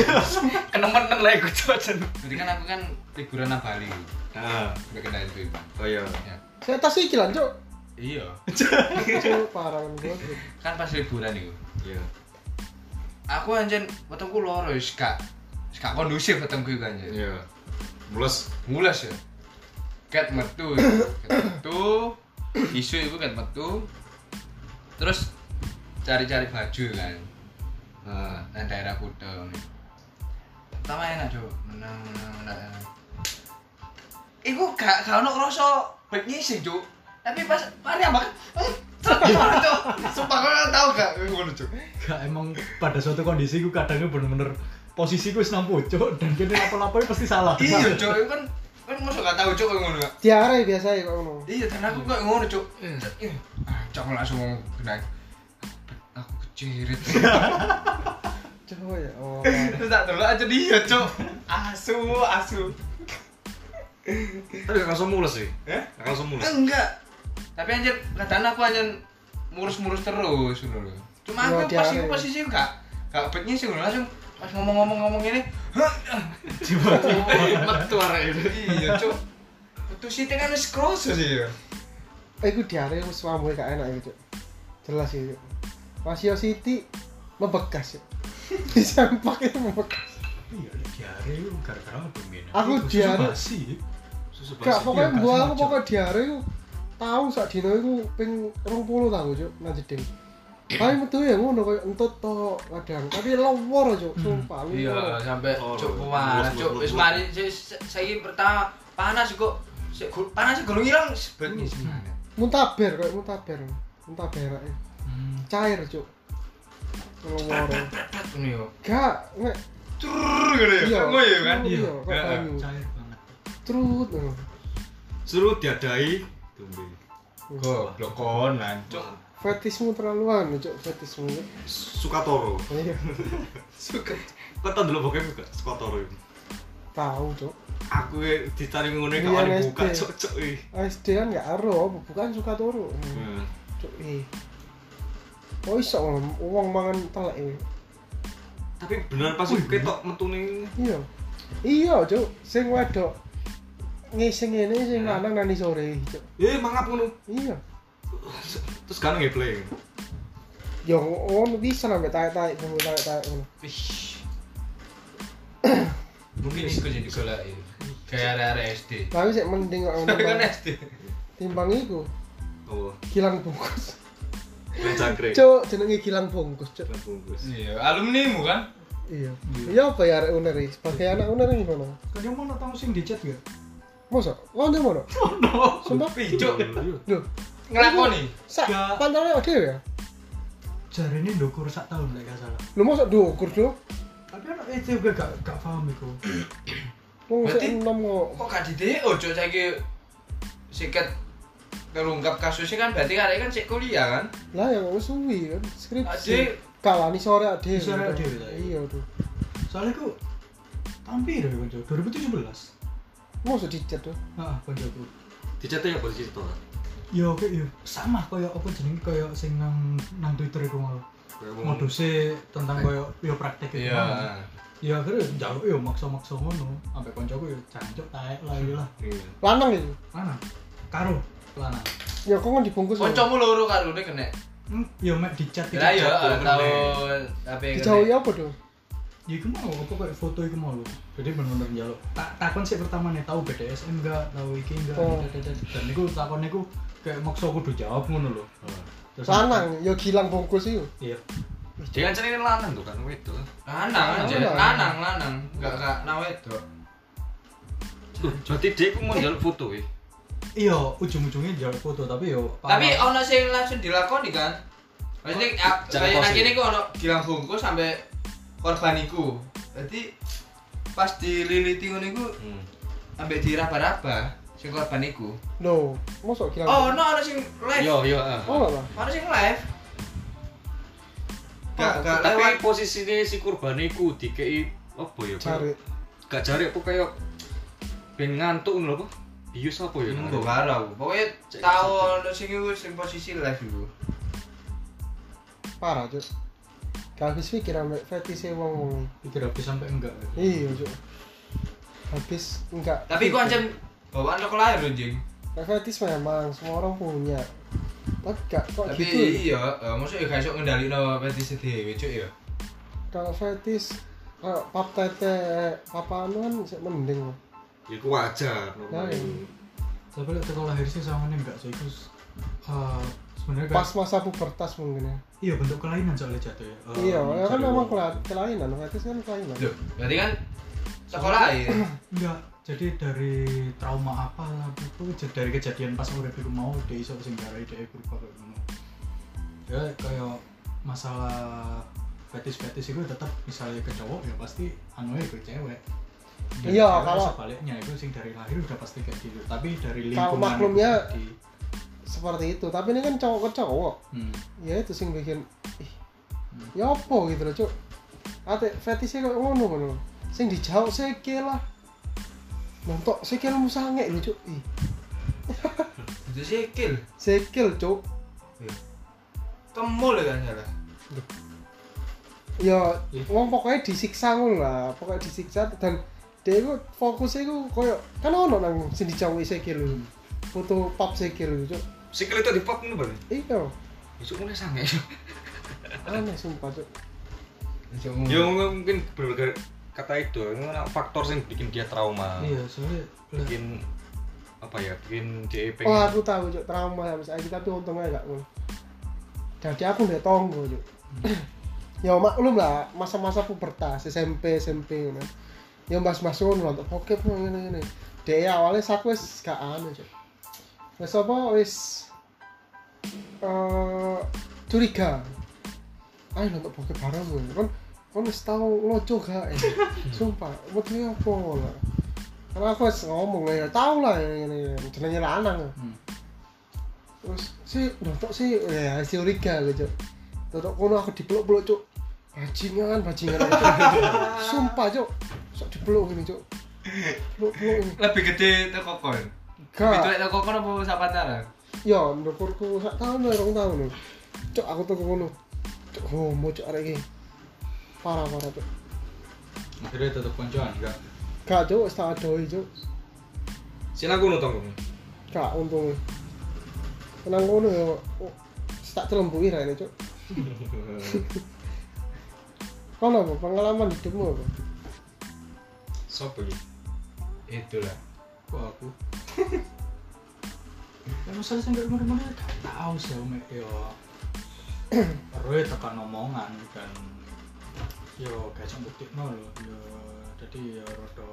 Speaker 4: kenemen lah iku cocen
Speaker 1: Jadi kan aku kan liburan nang Bali.
Speaker 4: ah
Speaker 1: Sampai ke Bali itu.
Speaker 4: oh iya
Speaker 1: Ya.
Speaker 2: saya tas iki lan cuk
Speaker 1: Iya.
Speaker 2: Cuk, parah kan gue
Speaker 1: Kan pas liburan itu.
Speaker 4: iya
Speaker 1: Aku anjen wetengku loro wis gak wis gak kondusif wetengku iku anjen.
Speaker 4: iya mulus
Speaker 1: Mulas ya. Ket metu, ya. ket metu. Isu itu ket metu. Terus cari-cari baju kan. Nah, nang daerah kudel nih. Pertama enak, Cuk. Menang, menang, menang. menang. Iku gak gak ono rasa baik ngising, Cuk. Tapi pas mari ambak. Cuk, sumpah kau tau gak ngono, Cuk.
Speaker 3: Gak emang pada suatu kondisi gue kadangnya bener-bener posisiku wis nang pojok dan kene apa-apa pasti salah.
Speaker 1: Iya, Cuk, iku kan kan masa gak tau, Cuk, ngono. Kak.
Speaker 2: diare biasa ya kok ngono
Speaker 1: Iya, karena aku kok ngono, Cuk. Ih, ah, Cuk aku langsung ngomong benar. Aku kecirit.
Speaker 2: Cuk, ya oh
Speaker 1: Terus tak delok aja dia, Cuk. Asu, asu.
Speaker 4: tapi gak langsung mulus sih
Speaker 1: Eh?
Speaker 4: gak langsung mulus
Speaker 1: Enggak. Tapi anjir, kadang aku anjir murus-murus terus ngono lho. Cuma
Speaker 2: Yo,
Speaker 1: aku pas
Speaker 2: diare.
Speaker 1: iku posisi gak gak betnya sih ngono langsung pas ngomong-ngomong-ngomong ini. hah,
Speaker 4: metu arek itu
Speaker 1: Iya, Cuk. Itu sih kan wis kroso sih ya.
Speaker 2: eh gue diare wis mambu gak enak gitu jelas ya Cuk. pas yo Siti membekas ya disempak itu membekas
Speaker 3: Iya, diare itu gara-gara apa Min?
Speaker 2: Aku
Speaker 3: Iku susu
Speaker 2: diare.
Speaker 3: basi.
Speaker 4: susu
Speaker 2: gak
Speaker 4: basi
Speaker 2: pokoknya gua
Speaker 3: Iya,
Speaker 2: aku
Speaker 3: gak sengaja.
Speaker 2: pokoknya diare itu tahu sak dino itu ping rong puluh tahu cuk nang jeding tapi metu ya ngono koyo entut to kadang tapi lowor cuk sumpah lowor.
Speaker 1: Iya, sampai
Speaker 4: Oh,
Speaker 1: Cuk
Speaker 4: lho.
Speaker 1: panas,
Speaker 4: Mulus,
Speaker 1: Cuk.
Speaker 4: mulus,
Speaker 1: Wis
Speaker 4: mulus.
Speaker 1: mari se- se- saiki pertama panas kok. Se- gu- Panas gulung ilang sebetnya sih.
Speaker 2: muntaber koyo muntaber muntaber ae.
Speaker 3: Hmm.
Speaker 2: cair cuk lowor
Speaker 1: Tet ngono yo.
Speaker 2: gak nek
Speaker 1: Tur ngono yo.
Speaker 2: Iya.
Speaker 1: Ngono yo gitu kan.
Speaker 2: Iya, kok Nah,
Speaker 1: Heeh.
Speaker 2: banyu.
Speaker 3: Cair banget.
Speaker 2: trut ngono.
Speaker 4: suruh diadai tumbe
Speaker 1: Goblok konan, Cuk.
Speaker 2: fetismu terlaluan cuk fetismu Cuk.
Speaker 4: suka toro
Speaker 2: iya
Speaker 1: Suka.
Speaker 4: kau tau dulu pokoknya buka suka toro itu
Speaker 2: tahu cuk
Speaker 4: aku ya dicari ngono
Speaker 2: Iya,
Speaker 4: gak ada
Speaker 2: Mas,
Speaker 4: buka
Speaker 2: Dek.
Speaker 4: cok eh. cok ih
Speaker 2: SD kan gak ero bukan suka turu cuk eh Oh iso ngono, uang mangan telek eh. ini.
Speaker 4: tapi bener pas ketok metu nih
Speaker 2: Iya. Iya, Cuk. Sing wedok ngising ngene sing
Speaker 4: Ya.
Speaker 2: lanang nani sore, Cuk.
Speaker 4: eh mangap ngono
Speaker 2: Iya.
Speaker 4: terus kan ngeplay
Speaker 2: Yo ngono Ya, oh, bisa sampe taek-taek, bumbu taek-taek ngono.
Speaker 1: Wih. Mungkin iku jadi golek. Kayak area-area SD.
Speaker 2: Tapi sik mending kok ngono.
Speaker 1: Tapi kan
Speaker 2: Bang.
Speaker 1: SD.
Speaker 2: Timbang iku
Speaker 4: oh
Speaker 2: kilang bungkus.
Speaker 4: main cangkrik
Speaker 2: Cuk, jenenge kilang bungkus, Cuk.
Speaker 4: Nah, bungkus
Speaker 1: Iya, alumni mu kan?
Speaker 2: Iya. Iya apa ya arek uner iki? Sebagai anak uner iki gimana?
Speaker 3: Kalian mau tau sing dicat ya? gak?
Speaker 2: Mosok? Ngono ngono. Sumpah.
Speaker 1: Pijuk.
Speaker 4: Iya.
Speaker 2: Lho,
Speaker 1: Ngelakoni.
Speaker 2: sak
Speaker 3: Gak.
Speaker 2: pantone dhewe ya?
Speaker 3: Jarene ndukur sak tahun lek gak salah.
Speaker 2: Lho mosok dukur, Cuk.
Speaker 3: Tapi anak itu gue gak gak paham iku.
Speaker 2: Wong sik
Speaker 1: Berarti-
Speaker 2: enom kok.
Speaker 1: Kok gak dideo, Cuk, saiki siket terungkap kasusnya kan berarti karek kan sik kuliah kan?
Speaker 2: Lah ya wis suwi kan skripsi.
Speaker 1: Ade.
Speaker 2: Kalani sore ade.
Speaker 3: Sore
Speaker 1: ya.
Speaker 3: dhewe ta, iya.
Speaker 2: Iya, Cuk.
Speaker 3: Soalnya aku tampil ya konco 2017.
Speaker 2: Mosok dicat, Cuk.
Speaker 3: Heeh, Ya, koncoku.
Speaker 4: dicetak ya boleh cerita
Speaker 3: Yo oke yo sama koyo apa jenenge koyo sing nang nang Twitter iku mau.
Speaker 1: Kayak wong-
Speaker 3: modusnya tentang koyo yo praktek itu
Speaker 1: Iya.
Speaker 3: mang. ya akhirnya jaluk yo maksa-maksa ngono sampai koncoku yo ya, jancuk taek lah yo lah
Speaker 1: Iya.
Speaker 2: lanang itu
Speaker 3: lanang karo lanang
Speaker 2: ya kok kan dibungkus ya?
Speaker 1: Kancamu loro karo ini kena.
Speaker 3: hmm, yo mek dicat
Speaker 1: Lah ya
Speaker 3: dicat,
Speaker 1: tahu
Speaker 3: bener.
Speaker 1: tapi
Speaker 2: dijauhi apa dong
Speaker 3: Ya iku mau apa kayak foto iku mau lho. Jadi bener-bener njaluk. Tak takon sik pertama nih tahu BDSM enggak, tahu iki enggak.
Speaker 2: Oh.
Speaker 3: dadadadad. Dan niku takon niku kayak maksa kudu jawab ngono lho.
Speaker 4: Hmm.
Speaker 3: Terus
Speaker 2: lanang ya gilang bungkus itu
Speaker 3: Iya.
Speaker 4: Dia kan ceritanya lanang tuh kan wedok.
Speaker 1: lanang aja,
Speaker 2: Lanang.
Speaker 1: lanang lanang, enggak enggak nawe dok.
Speaker 4: Loh, berarti dia ku mau njaluk foto ya.
Speaker 3: Iya, ujung-ujungnya njaluk foto tapi yo
Speaker 1: Tapi ono sing langsung dilakoni kan. Maksudnya a-
Speaker 4: Jangan
Speaker 1: kayak
Speaker 4: pause.
Speaker 1: nang kene ku ono gilang bungkus sampai korban iku. Dadi pas dililiti ngono iku
Speaker 4: Hmm.
Speaker 1: ambek diraba-raba sing korban iku.
Speaker 2: no masuk gilang
Speaker 1: Oh, ono ono sing live.
Speaker 4: Yo yo.
Speaker 2: oh
Speaker 4: ah.
Speaker 2: enggak lah
Speaker 1: Ono sing live. Gak gak lewat
Speaker 4: Tapi posisinya si kurban iku dikei apa ya?
Speaker 2: cari
Speaker 4: Gak jari apa kayak ben ngantuk ngono lho apa? Bius apa ya?
Speaker 1: Iku gak karo aku. Pokoknya
Speaker 4: Cek,
Speaker 1: tau
Speaker 4: cek.
Speaker 1: ono sing iku sing posisi live iku.
Speaker 2: parah cuk gak habis pikir ambek fetisnya wong wong
Speaker 3: pikir habis sampai enggak.
Speaker 2: iya cuk habis enggak
Speaker 1: Tapi ku ancam bawaan lo lahir lho, Jing.
Speaker 2: Kayak fetis memang semua orang punya tapi gak kok
Speaker 1: Tapi
Speaker 2: gitu ya?
Speaker 1: iya, eh, maksudnya gak iso ngendalino petis dhewe, cuk ya.
Speaker 2: kalau fetis eh, pap tete papanu kan sik mending
Speaker 4: Iku wajar
Speaker 2: nah,
Speaker 4: normal.
Speaker 2: ya.
Speaker 3: Tapi lek teko lahir sih sama nih enggak so iku eh, sebenarnya
Speaker 2: pas
Speaker 3: kayak-
Speaker 2: masa pubertas mungkin ya
Speaker 3: iya bentuk kelainan soalnya jatuh ya. Eh,
Speaker 2: iya ya kan
Speaker 3: cari
Speaker 2: memang
Speaker 3: uang. Iya.
Speaker 2: kela- kelainan fetis kan kelainan
Speaker 1: Loh, berarti kan sekolah ya.
Speaker 3: Enggak, jadi dari trauma apa lah itu jadi dari kejadian pas urip iku mau dia iso sing garai dia berubah kayak ngono. Ya kayak masalah fetis-fetis itu tetap misalnya ke cowok ya pasti anu ke cewek. Dan
Speaker 2: Iya,
Speaker 3: cewek
Speaker 2: kalau-
Speaker 3: sebaliknya itu sing dari lahir udah pasti kayak gitu. Tapi dari
Speaker 2: Kalau
Speaker 3: lingkungan
Speaker 2: maklumnya-
Speaker 3: itu tadi,
Speaker 2: seperti itu tapi ini kan cowok ke cowok
Speaker 3: hmm,
Speaker 2: ya itu sing bikin ih ya apa gitu loh cuk ate fetisnya kayak ngono ngono sing dijauh seke lah nontok seke lu sange lho cuk ih
Speaker 1: Itu sikil.
Speaker 2: sekil cuk
Speaker 1: Kemul ya kan salah.
Speaker 2: ya
Speaker 3: Iya.
Speaker 2: wong pokoknya disiksa ngono lah pokoknya disiksa dan dia itu fokusnya itu koyo kan ono nang sing dijauhi sikil lho
Speaker 3: Hmm.
Speaker 2: foto pap sikil lho cuk
Speaker 4: Sikil itu dipok ngono Bang.
Speaker 2: iya
Speaker 4: Isu mulai sange.
Speaker 2: aneh sumpah cuk
Speaker 1: Iso
Speaker 2: Iya.
Speaker 4: Ya
Speaker 1: ngomong.
Speaker 4: mungkin berbagai kata itu, ini kan faktor yang bikin dia trauma,
Speaker 3: Iya, soalnya lah,
Speaker 4: bikin apa ya, bikin dia pengen.
Speaker 2: oh aku tahu cuk trauma sampai saiki tapi untungnya gak ngono jadi aku ndek tonggo cuk ya maklum lah masa-masa pubertas SMP SMP ngono ya mas-mas ngono nonton bokep ngene ngene dia awalnya sak wis gak anu cuk wis apa wis eh curiga ayo nonton bokep bareng ngono kan kan wis tau loco gak eh. sumpah maksudnya apa lah karena aku wis ngomong ya tau lah ini ini jenenge lanang
Speaker 3: hmm.
Speaker 2: terus si nonton sih ya si curiga gitu cok nonton kono aku dipeluk peluk cok bajingan bajingan sumpah cok sok dipeluk ini cok peluk peluk ini
Speaker 1: Lebih gede teko kon. Lebih
Speaker 2: gak
Speaker 1: tuwek teko kon apa sak pacaran?
Speaker 2: ya ndukurku sak tahun lah rong tahun lho cok aku tuh kono cok homo cok arek iki parah parah cok
Speaker 3: akhirnya tetap koncoan enggak.
Speaker 2: gak cok wis tak adoi cok
Speaker 4: Sini aku nonton kamu.
Speaker 2: gak untungnya tenang kono ya oh, tak celembui lah ini cok kono apa pengalaman hidupmu apa
Speaker 4: Sopo ya?
Speaker 1: Itulah.
Speaker 3: Kok aku? ya masalah sing gak kemana-mana gak tau sih Om ya. yo. Roy tekan omongan dan yo gak iso buktikno lho yo dadi yo rada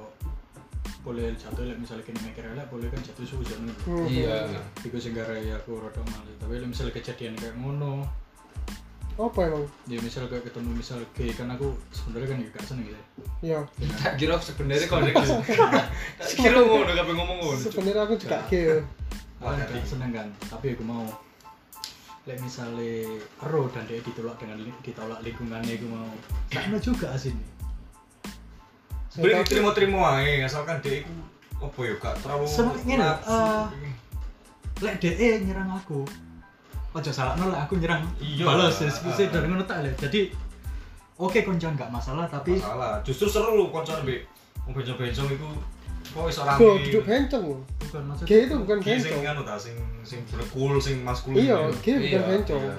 Speaker 3: boleh jatuh lek misalnya kini mikir lek boleh kan jatuh sujon
Speaker 2: Hmm.
Speaker 1: Iya.
Speaker 3: Iku sing garai aku rada males tapi lek misalnya kejadian kayak ngono
Speaker 2: apa emang
Speaker 3: ya misal kayak ketemu misal gay kan aku sebenarnya kan gak seneng gitu ya.
Speaker 2: ya
Speaker 1: Tak kira sebenarnya kon iki. Tak kira ngono kabeh ngomong ngono. Cuk.
Speaker 2: sebenarnya aku juga gay ya.
Speaker 3: Aku
Speaker 4: Wah,
Speaker 3: gak
Speaker 4: tapi-
Speaker 3: seneng kan, tapi aku mau Lek misalnya ero dan dia ditolak dengan li- ditolak lingkungannya aku mau Sama juga asin
Speaker 4: Sebenarnya diterima-terima aja, asalkan dia itu apa ya, gak terlalu.
Speaker 2: Ah,
Speaker 3: Sebenarnya gini,
Speaker 4: nafsu.
Speaker 3: eh, Lek DE nyerang aku ojo salah nol aku nyerang
Speaker 4: Iya.
Speaker 3: balas ya sih dari ngono tak lihat jadi oke koncan nggak masalah tapi
Speaker 4: Salah, justru seru lu konser be. Mau bencong-bencong itu kok iso rame.
Speaker 2: Go duduk bencong.
Speaker 3: bukan maksud
Speaker 2: G itu bukan
Speaker 4: Ki sing
Speaker 2: bencong.
Speaker 4: anu ta sing sing cool sing maskulin.
Speaker 2: Iya,
Speaker 4: gitu.
Speaker 2: G bukan
Speaker 4: Iya,
Speaker 2: bencong.
Speaker 4: iya.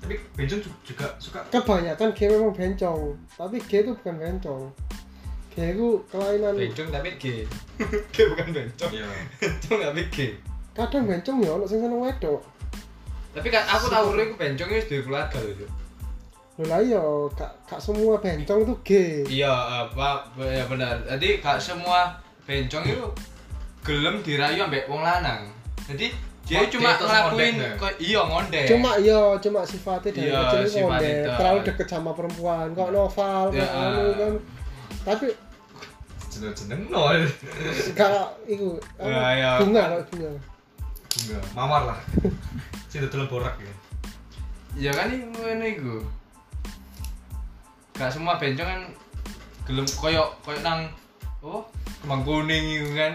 Speaker 4: Tapi bencong ju- juga suka
Speaker 2: Kebanyakan G memang bencong, tapi G itu bukan bencong. G itu kelainan.
Speaker 1: Bencong tapi G. G bukan bencong.
Speaker 4: Iya.
Speaker 1: Bencong tapi G.
Speaker 2: Kadang bencong ya ono sing seneng wedok.
Speaker 1: Tapi kan aku tahu dulu aku bencong itu dari keluarga loh. Cuk.
Speaker 2: Lho lah ya, gak, gak semua bencong itu G.
Speaker 1: Iya, apa ya benar. Jadi gak semua bencong itu gelem dirayu ambek wong lanang. Jadi dia
Speaker 4: Ngondek
Speaker 1: cuma
Speaker 4: terus
Speaker 1: ngelakuin
Speaker 4: ngondek, ya?
Speaker 1: kok iya ngondek.
Speaker 2: Cuma iya, cuma sifatnya dari
Speaker 1: Iya,
Speaker 2: kecil itu
Speaker 1: sifatnya
Speaker 2: ngondek,
Speaker 1: itu.
Speaker 2: terlalu deket sama perempuan. Kok novel,
Speaker 1: Ya.
Speaker 2: kok anu kan. Tapi
Speaker 4: jeneng-jeneng nol.
Speaker 2: gak iku apa,
Speaker 1: Ya, ya.
Speaker 2: bunga kok bunga.
Speaker 4: Bunga, mawar lah. Sing dodolan borak ya.
Speaker 1: ya kan ini ngono iku. Gak semua bencong kan gelem koyo koyo nang oh kembang kuning iku kan.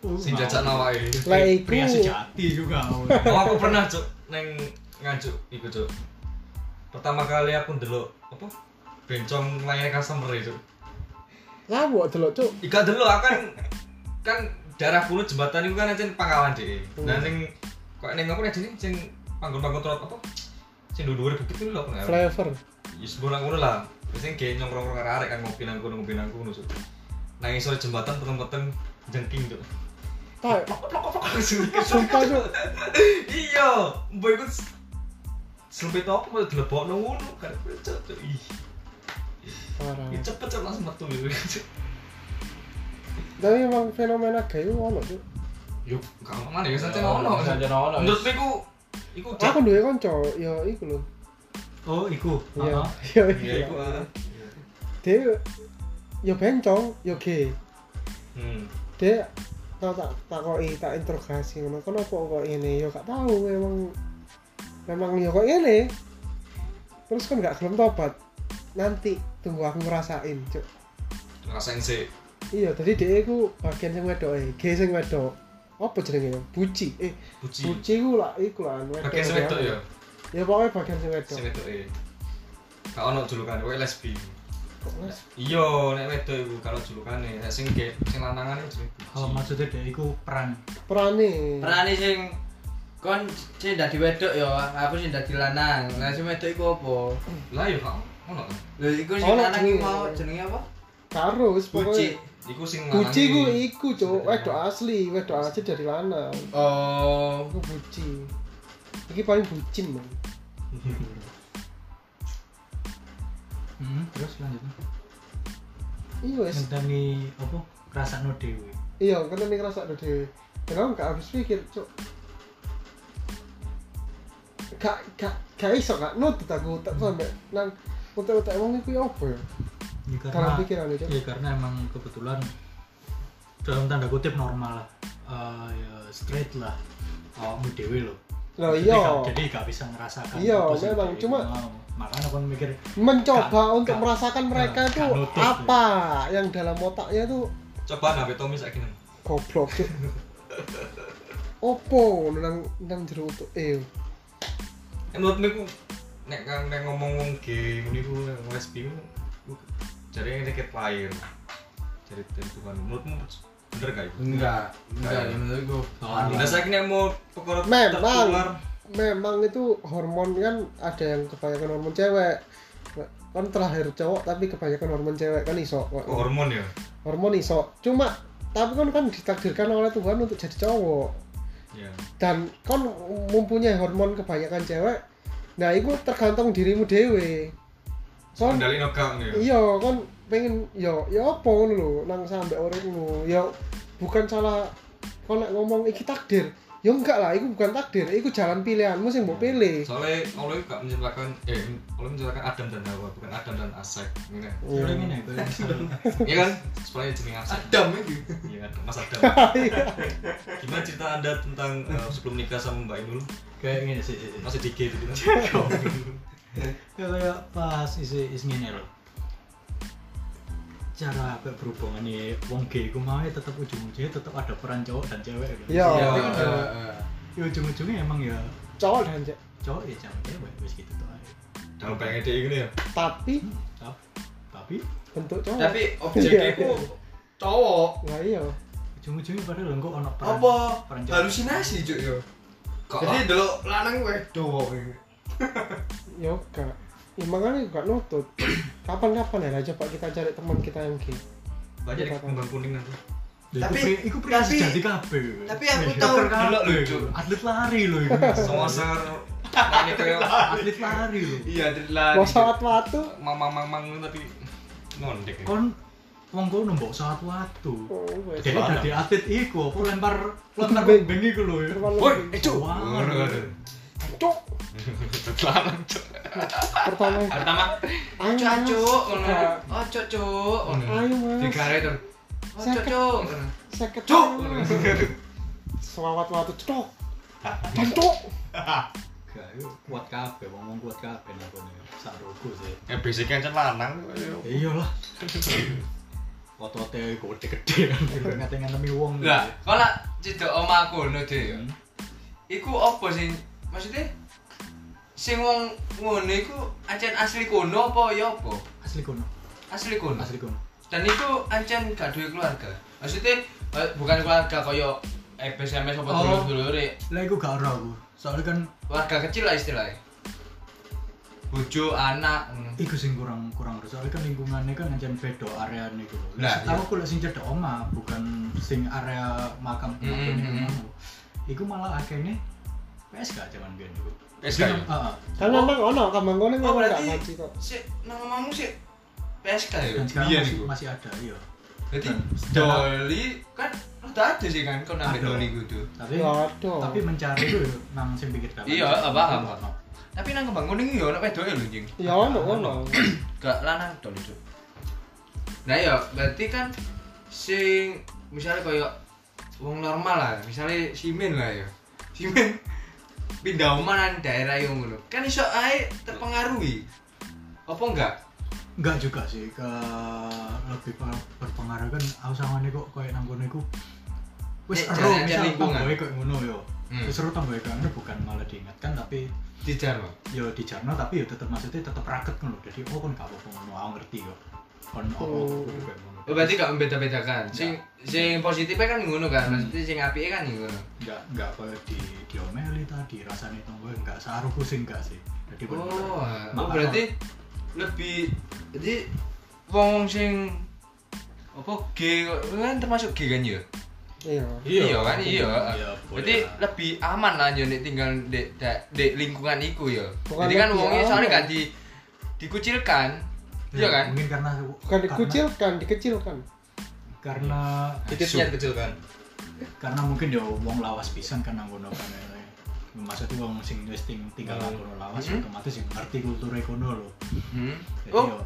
Speaker 3: Oh,
Speaker 4: Sing
Speaker 3: mau.
Speaker 4: jajak nawake.
Speaker 2: Lah
Speaker 1: Iya,
Speaker 3: Pri-
Speaker 2: iku-
Speaker 3: pria sejati juga oh.
Speaker 4: Oh, aku pernah cuk neng ngajuk iku cuk. Pertama kali aku ndelok apa? Bencong layar customer e, itu.
Speaker 2: Lah kok delok cuk.
Speaker 1: Iya.
Speaker 4: Ika dulu akan kan daerah kuno jembatan itu kan ancen pangkalan deh. Nah ning kok ning apa nih sini sing panggon-panggon trot apa? Sing dhuwur bukit itu lho apa?
Speaker 2: Flavor.
Speaker 4: Ya sebelum aku lah, biasanya kayak nongkrong nongkrong arek kan ngopi nang kono ngopi nang kono so. Nang isor jembatan peteng-peteng jengking tuh.
Speaker 2: Tak sumpah
Speaker 4: Sumpah
Speaker 2: cuk.
Speaker 4: Iya, boy gue selebih tau aku mau dilebok nunggu kan cepet tuh ih
Speaker 2: Parah.
Speaker 1: Iya.
Speaker 4: ya cepet cepet langsung metu gitu
Speaker 2: Tapi emang fenomena gay itu ono cuk.
Speaker 4: yuk kalau mana ya santai ono menurut gue ku iku
Speaker 2: Oh, Aku duwe kanca, ya iku lho.
Speaker 3: oh iku
Speaker 2: Ya,
Speaker 3: Ah, ah.
Speaker 2: ya
Speaker 4: ya
Speaker 2: iku.
Speaker 4: iku ah
Speaker 2: Dia ya bencong, ya gay.
Speaker 4: hmm
Speaker 2: Dia tau tak takoki, tak interogasi ngono. Kenapa kok ini? Ya gak tahu memang memang ya kok ini. Terus kan gak gelem tobat. Nanti tunggu aku ngerasain, cuk.
Speaker 4: ngerasain sih
Speaker 2: Iya, tadi dia iku bagian sing wedok e, gay sing wedok. Apa jenenge ya? Buci. Eh,
Speaker 4: buci
Speaker 2: buci iku lah iku lah anu
Speaker 4: pakai sewetok ya
Speaker 2: Ya pokoknya bagian sing wedok.
Speaker 4: sewetok eh kau ono julukan gue lesbi
Speaker 2: Kok les?
Speaker 4: iya nek wedok iku kalau julukan nih sing ge sing lanangan itu
Speaker 3: oh, maksudnya dia iku perang
Speaker 2: Perane.
Speaker 1: Perani sing kon sing dadi wedok ya, aku sing dadi lanang. Lah sing wedok iku apa?
Speaker 4: lah ya kau ono kan
Speaker 1: Lho iku sing
Speaker 2: Oh,
Speaker 1: lanang iku
Speaker 2: jenenge.
Speaker 1: mau jenenge apa? Buci.
Speaker 2: Harus pokoknya.
Speaker 4: iku sing lanang
Speaker 2: Buci ku iku cuk, wedok asli, wedok asli dari lanang.
Speaker 1: Oh,
Speaker 2: Aku buci. Iki paling bucin man.
Speaker 3: hmm, terus lanjutnya
Speaker 2: Iya wes.
Speaker 3: ngenteni apa kerasa no dewi
Speaker 2: Iya, kan ini ngerasa ada dhewe. Kenapa gak habis pikir cuk? Gak gak gak iso gak nutut aku tak sampe nang utek-utek wong iku ya apa ya?
Speaker 3: ya,
Speaker 2: Karena
Speaker 3: karena
Speaker 2: pikiran itu.
Speaker 3: ya karena emang kebetulan dalam tanda kutip normal lah Eh, ya, straight lah awakmu dewi loh
Speaker 2: Lah
Speaker 3: Jadi
Speaker 2: iya,
Speaker 3: gak- jadi gak bisa ngerasakan
Speaker 2: Iya,
Speaker 3: apa sih
Speaker 2: memang.
Speaker 3: dewi
Speaker 2: Cuma-
Speaker 3: mau. makanya aku mikir
Speaker 2: mencoba
Speaker 3: Gak-
Speaker 2: untuk
Speaker 3: gak- Nah,
Speaker 2: merasakan mereka
Speaker 3: gak
Speaker 2: itu
Speaker 3: nutut, ya.
Speaker 2: apa yang dalam otaknya itu
Speaker 4: coba nabe Tommy saiki nang
Speaker 2: goblok Cuk. opo nang nang jero utuk eh
Speaker 4: Eh, menurutmu ku nek kan nek ngomong wong ge ngene ku nek wong lesbi ku ku jare nek ket lahir. Jare dari Tuhan. Menurutmu bener gak iku?
Speaker 1: enggak, enggak ya menurutku.
Speaker 4: Nah, saiki nek mau perkara
Speaker 2: memang memang itu hormon kan ada yang kebanyakan hormon cewek kan terakhir cowok tapi kebanyakan hormon cewek kan iso
Speaker 4: Oh, hormon ya.
Speaker 2: hormon iso cuma tapi kan kan ditakdirkan oleh Tuhan untuk jadi cowok
Speaker 4: Ya.
Speaker 2: dan kan mempunyai hormon kebanyakan cewek nah itu tergantung dirimu dewe Kon-
Speaker 4: Kendali nokang ya.
Speaker 2: iya kan pengen yo yo apa ngono lho nang sampe uripmu yo bukan salah kau nek ngomong iki takdir yo enggak lah iku bukan takdir iku jalan pilihanmu sing mbok pilih
Speaker 4: Soalnya Allah itu gak menciptakan eh Allah menciptakan Adam dan Hawa, bukan Adam dan Asep. Ngene.
Speaker 3: Soalnya gini, kalau misalnya-
Speaker 4: Iya kan? Sebenarnya jeneng Asep.
Speaker 1: Adam iki.
Speaker 4: Iya kan? Mas Adam.
Speaker 2: Iya.
Speaker 4: Gimana cerita Anda tentang eh, sebelum nikah sama Mbak Inul?
Speaker 3: kayak gini sih sih, sih.
Speaker 4: Masih di G itu kan?
Speaker 3: Ya, kayak pas isi isi ngene lho. Cara kayak berhubungan nih, wong gay ku mau tetap ujung-ujungnya tetap ada peran cowok dan cewek. gitu.
Speaker 2: Iya.
Speaker 4: Iya.
Speaker 1: Heeh.
Speaker 3: Ya ujung-ujungnya emang ya
Speaker 2: cowok dan cewek
Speaker 3: cowok ya jangan cewek wis gitu tuh aja
Speaker 4: Jangan pengen dia gini ya.
Speaker 2: tapi
Speaker 3: Tap- tapi
Speaker 2: bentuk cowok
Speaker 1: Tapi objeknya
Speaker 2: Iya.
Speaker 1: itu cowok.
Speaker 2: nggak iya
Speaker 3: ujung-ujungnya padahal engko ono peran
Speaker 1: Apa?
Speaker 3: peran cowok.
Speaker 1: Halusinasi cuk yo. Jadi delok lanang wedo
Speaker 2: ya enggak ya makanya enggak nutut kapan-kapan ya lah, coba kita cari teman kita yang gay
Speaker 4: Banyak di kembang kuning nanti.
Speaker 3: Ya,
Speaker 1: Tapi-
Speaker 3: iku pri- iku pria
Speaker 1: tapi-
Speaker 3: sejati kabeh.
Speaker 1: tapi aku
Speaker 3: Iya,
Speaker 1: tahu
Speaker 3: dokter kabeh.
Speaker 1: delok lho, Cuk.
Speaker 3: Atlet lari loh iku.
Speaker 4: Soser. Ini kayak
Speaker 3: Atlet lari loh.
Speaker 1: Iya, delan.
Speaker 2: mau sholat waktu
Speaker 4: mamang-mamang tapi ngondek. ya.
Speaker 3: Kon wong kono mbok saat watu.
Speaker 2: oh wes
Speaker 3: Jadi
Speaker 4: Gimana?
Speaker 3: dadi atlet iku apa lempar lempar
Speaker 2: Beng.
Speaker 3: beng iku lho ya.
Speaker 2: Terlalu
Speaker 1: Woi,
Speaker 2: lebih.
Speaker 1: eh, Cuk.
Speaker 3: Wah.
Speaker 4: Waduh, waduh.
Speaker 2: cuk
Speaker 4: Tetelan, Cuk.
Speaker 2: pertama
Speaker 1: Pertama,
Speaker 2: ayo
Speaker 1: cuk
Speaker 2: Mas.
Speaker 1: cuk ngono. Oh, cuk cuk.
Speaker 2: ayo mas
Speaker 1: Tiga hari terus. Oh, cuk cuk. ngono.
Speaker 2: seket
Speaker 1: Cuk.
Speaker 2: selawat waktu cuk dan cuk
Speaker 3: Gak, iku kuat kabeh, wong-wong kuat kabeh nang kono. Sak rogo sih.
Speaker 4: Ya basicnya aja lanang. eh,
Speaker 3: Ya iyalah. Otote gede-gede kan ngate-ngatemi wong.
Speaker 1: Lah, kok lak cedok omah kono deh yo.
Speaker 3: Hmm.
Speaker 1: Iku apa sing maksudnya sing wong ngono iku ancen asli kono apa ya apa?
Speaker 3: Asli kono.
Speaker 1: Asli kono.
Speaker 3: Asli kono.
Speaker 1: Dan itu ancen gak duwe keluarga. Maksudnya eh, bukan keluarga koyo SMS apa
Speaker 3: Oh.
Speaker 1: dulur-dulure.
Speaker 3: Lah iku gak ora aku. Soalnya kan
Speaker 1: Keluarga kecil lah istilahnya. Bojo, anak. ngono.
Speaker 3: Iku sing kurang kurang harus soalnya kan lingkungannya kan ngancam bedo area niku lho.
Speaker 1: Nah,
Speaker 3: Lah tahu aku lek sing cedek oma bukan sing area makam
Speaker 1: Mm,
Speaker 3: makam
Speaker 1: mm,
Speaker 3: niku
Speaker 1: mm.
Speaker 3: mau. Iku malah akhirnya PSK zaman biyen niku.
Speaker 4: PSK ya?
Speaker 3: Heeh.
Speaker 2: karena
Speaker 1: Oh.
Speaker 2: emang ono kamar gue
Speaker 1: Oh,
Speaker 2: nggak
Speaker 1: berarti-
Speaker 2: ngaji kok
Speaker 1: Sik nang omahmu sik PSK ya.
Speaker 3: Dan sekarang
Speaker 1: Iya
Speaker 3: masih,
Speaker 1: niku.
Speaker 3: masih ada iya.
Speaker 1: Jadi
Speaker 3: Dan-
Speaker 1: doli kan udah ada sih kan kau nambah
Speaker 3: Ada.
Speaker 1: doli gitu.
Speaker 3: Tapi
Speaker 2: Ya, Waduh.
Speaker 3: tapi mencari itu ya, nang sing pikir dapat.
Speaker 1: Iya, apa, paham.
Speaker 3: Ono.
Speaker 1: Tapi nang kembang kuning yo ana wedoke lho jing.
Speaker 2: ya ono ono
Speaker 1: Gak lanang to lho. Cuk. Nah ya berarti kan sing misalnya koyo wong normal lah, misalnya Simen lah ya. Simen pindah omah nang daerah yang ngono. Kan iso ae terpengaruhi. Apa enggak?
Speaker 3: Enggak juga sih ke lebih per- berpengaruh kan aku sama kok kayak nang kono iku
Speaker 1: Nek
Speaker 3: wis ero
Speaker 1: jalan-jalan
Speaker 3: misal
Speaker 1: lingkungan.
Speaker 3: tanggoe kayak ngono yo.
Speaker 1: Hmm.
Speaker 3: Wis ero tanggoe kayak ngono bukan malah diingatkan tapi
Speaker 1: Dijar, Pak.
Speaker 3: yo di Jarno tapi yo tetep maksudnya tetep raket ngono jadi oh kon gak apa-apa ngono aku ngerti kok kon apa apa
Speaker 2: Oh.
Speaker 3: kudu kayak ngono
Speaker 1: Oh, berarti gak membeda-bedakan. Sing sing positifnya kan ngono kan, maksudnya sing apike kan ngono.
Speaker 3: enggak enggak kayak di diomeli tadi rasanya tonggo enggak saruh pusing enggak sih jadi bener-bener.
Speaker 1: Oh, oh
Speaker 3: Maka-
Speaker 1: berarti lebih jadi wong wong sing apa G kan termasuk G kan ya?
Speaker 2: iya
Speaker 1: Iya kan iya.
Speaker 3: Iya, boleh
Speaker 1: Berarti
Speaker 3: lah.
Speaker 1: lebih aman lah ya nek tinggal di, di, di lingkungan iku ya.
Speaker 2: Bukan ah.
Speaker 1: Jadi kan
Speaker 2: lebih
Speaker 1: wongnya soalnya
Speaker 2: aman.
Speaker 1: gak di dikucilkan. Iya kan?
Speaker 3: ya, mungkin karena
Speaker 2: bukan
Speaker 3: karena-
Speaker 2: dikucilkan dikecilkan
Speaker 3: karena
Speaker 1: Titiknya kecil kan.
Speaker 3: karena mungkin yo wong lawas pisan kan nang kono kan ya. maksudnya wong sing wis ting- tinggal nang kono lawas
Speaker 1: Mhm.
Speaker 3: otomatis yo ngerti kultur kono lho
Speaker 1: Hmm.
Speaker 3: jadi ya,
Speaker 1: Oh,
Speaker 3: yo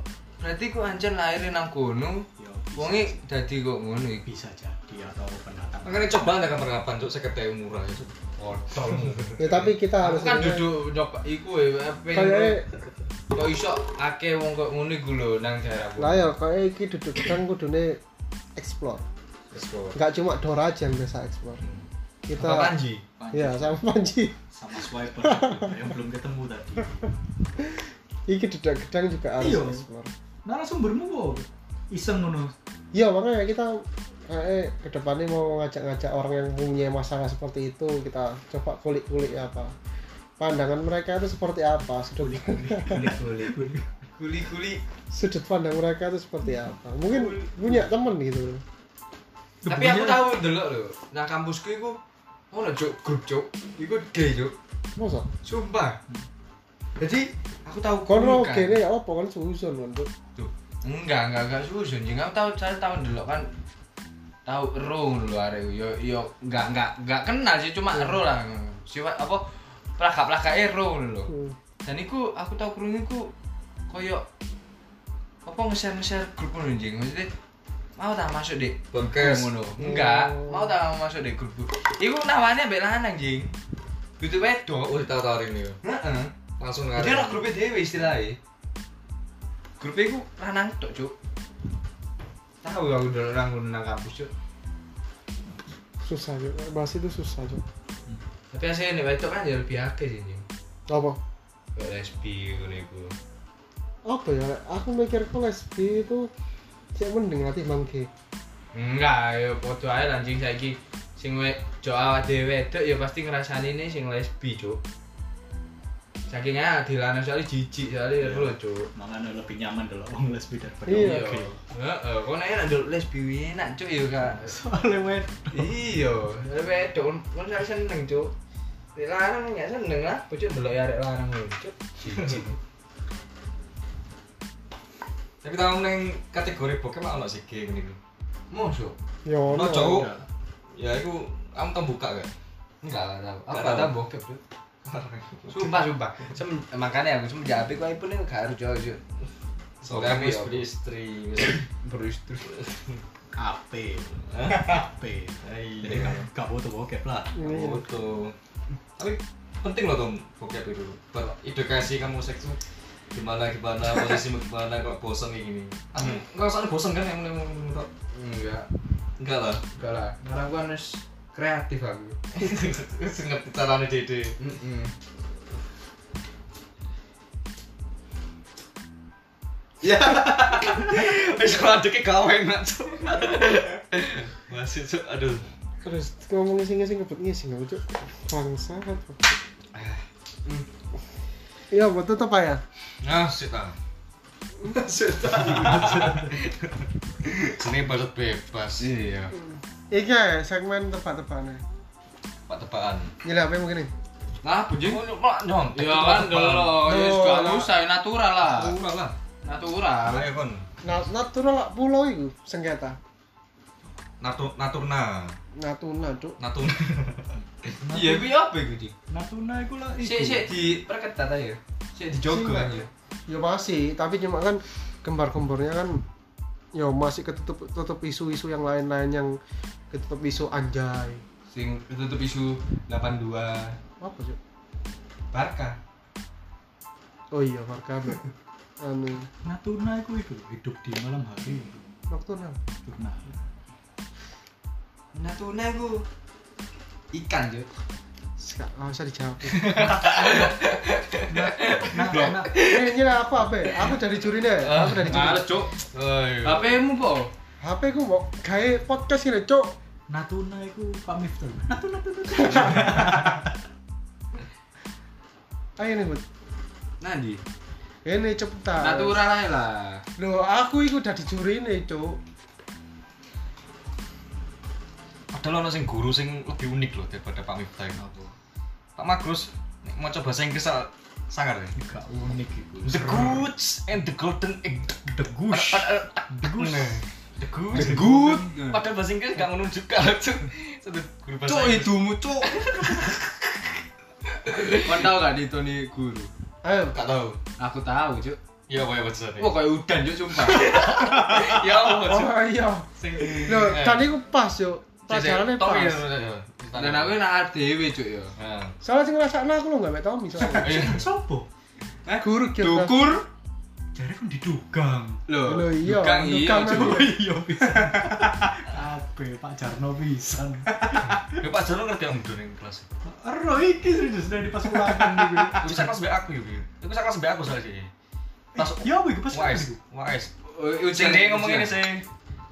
Speaker 1: berarti ku anjen lahirin nang kono.
Speaker 3: yo
Speaker 1: Wonge dadi kok ngono iki.
Speaker 3: bisa jadi atau pendatang
Speaker 4: Makanya coba anda kapan-kapan Cuk, saya ketemu murah ya Cuk.
Speaker 2: ya tapi kita
Speaker 1: Aku
Speaker 2: harus
Speaker 1: kan duduk nyoba iku ya, Eh, pengen
Speaker 2: kayak eh.
Speaker 1: kok iso akeh wong kok ngono iku lho nang daerah
Speaker 2: lah ya kayak iki duduk kan kudune explore nggak cuma Dora aja yang biasa explore kita
Speaker 1: Apa Panji?
Speaker 3: Panji.
Speaker 2: ya sama Panji
Speaker 3: sama swiper yang belum ketemu tadi
Speaker 2: iki duduk gedang juga harus
Speaker 3: Iya.
Speaker 2: explore
Speaker 3: narasumbermu kok iseng ngono
Speaker 2: iya makanya kita eh kedepannya mau ngajak-ngajak orang yang punya masalah seperti itu kita coba kulik-kulik apa pandangan mereka itu seperti apa sudut
Speaker 1: Guli-guli.
Speaker 2: sudut pandang mereka itu seperti apa mungkin punya temen gitu
Speaker 1: Tapi aku tahu delok lho, nang kampusku iku ono cuk grup cuk. Iku gay cuk.
Speaker 2: masa
Speaker 1: Sumpah. Jadi aku tahu
Speaker 2: kono
Speaker 1: kan.
Speaker 2: gini ya apa kan susun kan Dok.
Speaker 1: Tuh. Enggak, enggak, enggak susun. Jeng aku tahu saya tahu delok kan tahu ero lho arek yo yo enggak enggak enggak kenal sih cuma ero lah. Siwa apa plaka-plaka ero lho.
Speaker 2: Hmm.
Speaker 1: Dan iku aku tahu krungu iku koyo apa nge-share-nge-share grup ngono jeng. Maksudnya mau tak masuk dek
Speaker 4: Bengkes.
Speaker 1: ngono. Enggak,
Speaker 2: Oh.
Speaker 1: mau tak mau masuk dek grup. Iku nawane ambek lanang jeng. Dudu
Speaker 4: Oh,
Speaker 1: wedok.
Speaker 4: ditawarin ya.
Speaker 1: Heeh.
Speaker 4: Langsung
Speaker 1: Jadi
Speaker 4: ngarep.
Speaker 1: ora grupe dhewe istilahnya. Grupe iku lanang tok, Cuk. Tahu aku dulu nang ngono nang kampus, Cuk.
Speaker 2: susah juga bahas itu susah juga
Speaker 1: Tapi asli nek wedok kan ya lebih akeh sih, Jeng.
Speaker 2: apa
Speaker 4: Kayak lesbi ngono iku.
Speaker 2: apa ya aku mikirku lesbi itu sih mending nanti bang G
Speaker 1: Enggak, ya podo ae lah, anjing saiki sing we jo awak dhewe wedok ya pasti ngrasani ini sing lesbi, Cuk. Saking ae dilana soalnya jijik soalnya
Speaker 3: Iya.
Speaker 1: lho, Cuk.
Speaker 3: makanya lebih nyaman kalau orang lesbi daripada
Speaker 2: Iya.
Speaker 3: orang
Speaker 1: Iya.
Speaker 3: gay
Speaker 1: Heeh, kok nek nang ndelok lesbi kuwi enak, Cuk ya Kak.
Speaker 3: soalnya wed
Speaker 1: Iya, soalnya wedok kon sak kan seneng, Cuk. Nek lanang ya seneng lah, bocah ndelok ya arek lanang lho, Cuk.
Speaker 4: Jijik. Tapi tahu neng kategori bokep mah ono sih gay ngene iku.
Speaker 1: Mosok.
Speaker 2: ya ono
Speaker 4: Ono cowok.
Speaker 3: enggak.
Speaker 4: Ya iku kamu tau buka kan?
Speaker 1: Enggak lah, tahu. Aku
Speaker 4: Nggak
Speaker 1: gak
Speaker 4: tahu.
Speaker 1: tahu bokep, Cuk. Sumpah, sumpah. Sem makanya aku semenjak apik kok pun gak harus, Cuk, Cuk.
Speaker 4: Soalnya iya, aku
Speaker 1: Bokep
Speaker 4: wis
Speaker 1: ya.
Speaker 4: beli istri.
Speaker 1: Beristri.
Speaker 3: AP
Speaker 4: Hah?
Speaker 3: AP jadi
Speaker 4: Iya.
Speaker 3: gak- gak butuh bokep lah
Speaker 2: Iya.
Speaker 4: Betul. Tapi penting loh Tom bokep itu. Beredukasi kamu seks tuh gimana gimana posisimu gimana kok bosan kayak gini. Aku ngerasain bosan kan yang yang- yang- yang-
Speaker 1: Enggak.
Speaker 4: enggak lah.
Speaker 1: Enggak lah, karena aku harus kreatif aku.
Speaker 4: Wis ngerti caranya dede.
Speaker 1: Mm-mm.
Speaker 4: Ya. Wis aduknya gawe enak tuh. Masih tuh aduh.
Speaker 2: terus ngomong ngising ngising ngebut ngising aku cuk bangsa kan, apa Eh. ya buat tutup aja
Speaker 4: Nah, sih ta. Sini baru bebas.
Speaker 1: Iya.
Speaker 2: Iki ya segmen tebak-tebakan.
Speaker 4: Pak tebakan.
Speaker 2: Gila apa mungkin nih?
Speaker 1: Lah, bujing.
Speaker 4: Oh, malah nyontek
Speaker 1: Ya
Speaker 4: itu
Speaker 1: kan
Speaker 4: tebak-tebakan.
Speaker 1: dulu, ya
Speaker 2: Duh,
Speaker 1: sudah
Speaker 2: lah.
Speaker 1: usah natural lah.
Speaker 4: Murah lah.
Speaker 1: Natural.
Speaker 4: Ayo kon.
Speaker 2: Nah, natural lah pulau itu sengketa.
Speaker 4: Natu- Naturna.
Speaker 2: Natuna cuk.
Speaker 4: Natuna.
Speaker 1: Iya, gue apa gue di?
Speaker 3: Natuna itu lah
Speaker 1: Sik sik di perketat aja. Sik di jogo
Speaker 2: Sik.
Speaker 1: aja.
Speaker 2: Ya masih, tapi cuma kan gembar-gembornya kan ya masih ketutup tutup isu-isu yang lain-lain yang ketutup isu anjay.
Speaker 1: Sing tutup isu 82
Speaker 2: Apa cuk?
Speaker 1: Barca.
Speaker 2: Oh iya, marka anu
Speaker 3: Natuna itu itu hidup di malam hari
Speaker 2: Natuna.
Speaker 3: Natuna
Speaker 1: Natuna gue Nah, ikan, Cuk.
Speaker 2: Sekak, ah, bisa dijawab.
Speaker 3: nah, nah,
Speaker 2: Eh, gila aku apa? ya? Aku dari juri deh. Aku dari juri.
Speaker 1: Males, Cuk.
Speaker 4: Ayo.
Speaker 1: HP-mu po.
Speaker 2: HP ku mau gawe podcast ini cuk.
Speaker 3: Natuna itu Pak Miftah Natuna
Speaker 2: Ayo nih, Bud.
Speaker 1: Nanti.
Speaker 2: Ini cepetan.
Speaker 1: Natural aja lah.
Speaker 2: Loh, aku itu udah dicuri nih, Cuk.
Speaker 4: Padahal ono sing guru sing lebih unik loh daripada Pak Miftah ini. Pak Magrus nek maca bahasa Inggris sa- sangar ya.
Speaker 3: juga unik itu
Speaker 4: The goods and the golden egg.
Speaker 3: The Gush
Speaker 4: The
Speaker 3: Goose.
Speaker 4: The goods.
Speaker 1: The good.
Speaker 4: Padahal bahasa Inggris gak ngono juga cuk. Satu guru bahasa
Speaker 1: Cuk
Speaker 4: Inggris.
Speaker 1: hidupmu, Cuk. Kau tau gak di Tony Guru?
Speaker 2: Ayo,
Speaker 4: Gak tahu.
Speaker 1: Aku tahu, Cuk.
Speaker 4: Ya apa ya bahasane?
Speaker 1: Wah, kayak udan, Cuk, sumpah.
Speaker 4: Ya apa cuk.
Speaker 2: Oh iya.
Speaker 4: Sing eh.
Speaker 2: Lho, dan iku pas yo. Pelajarannya
Speaker 4: iya, ya,
Speaker 2: pas.
Speaker 1: Oh, Dan aku nak arep dhewe, Cuk, ya.
Speaker 2: Soalnya sing ngrasakno aku lho gak mek Tommy soalnya.
Speaker 4: Iya.
Speaker 3: Sopo?
Speaker 1: Hah?
Speaker 2: Guru kira.
Speaker 1: Dukur.
Speaker 3: Jare kan didugang
Speaker 1: Loh,
Speaker 2: Lho, iya,
Speaker 1: Dukang iya,
Speaker 2: dukang
Speaker 1: Cuk.
Speaker 2: aku.
Speaker 3: Iya pisan Abe Pak Jarno pisan
Speaker 4: Ya Pak Jarno ngerti om Dodo ning kelas.
Speaker 3: Ero iki serius dari pas ulangan gitu
Speaker 4: Aku sak kelas B aku ya. Bi. Aku sak kelas B aku soalnya sih. Pas
Speaker 3: Ya apa itu pas ulangan
Speaker 4: Wais,
Speaker 1: gitu?
Speaker 3: itu?
Speaker 4: wais.
Speaker 1: Oh,
Speaker 4: Sing
Speaker 1: Ujian
Speaker 4: dia ngomong ini sih.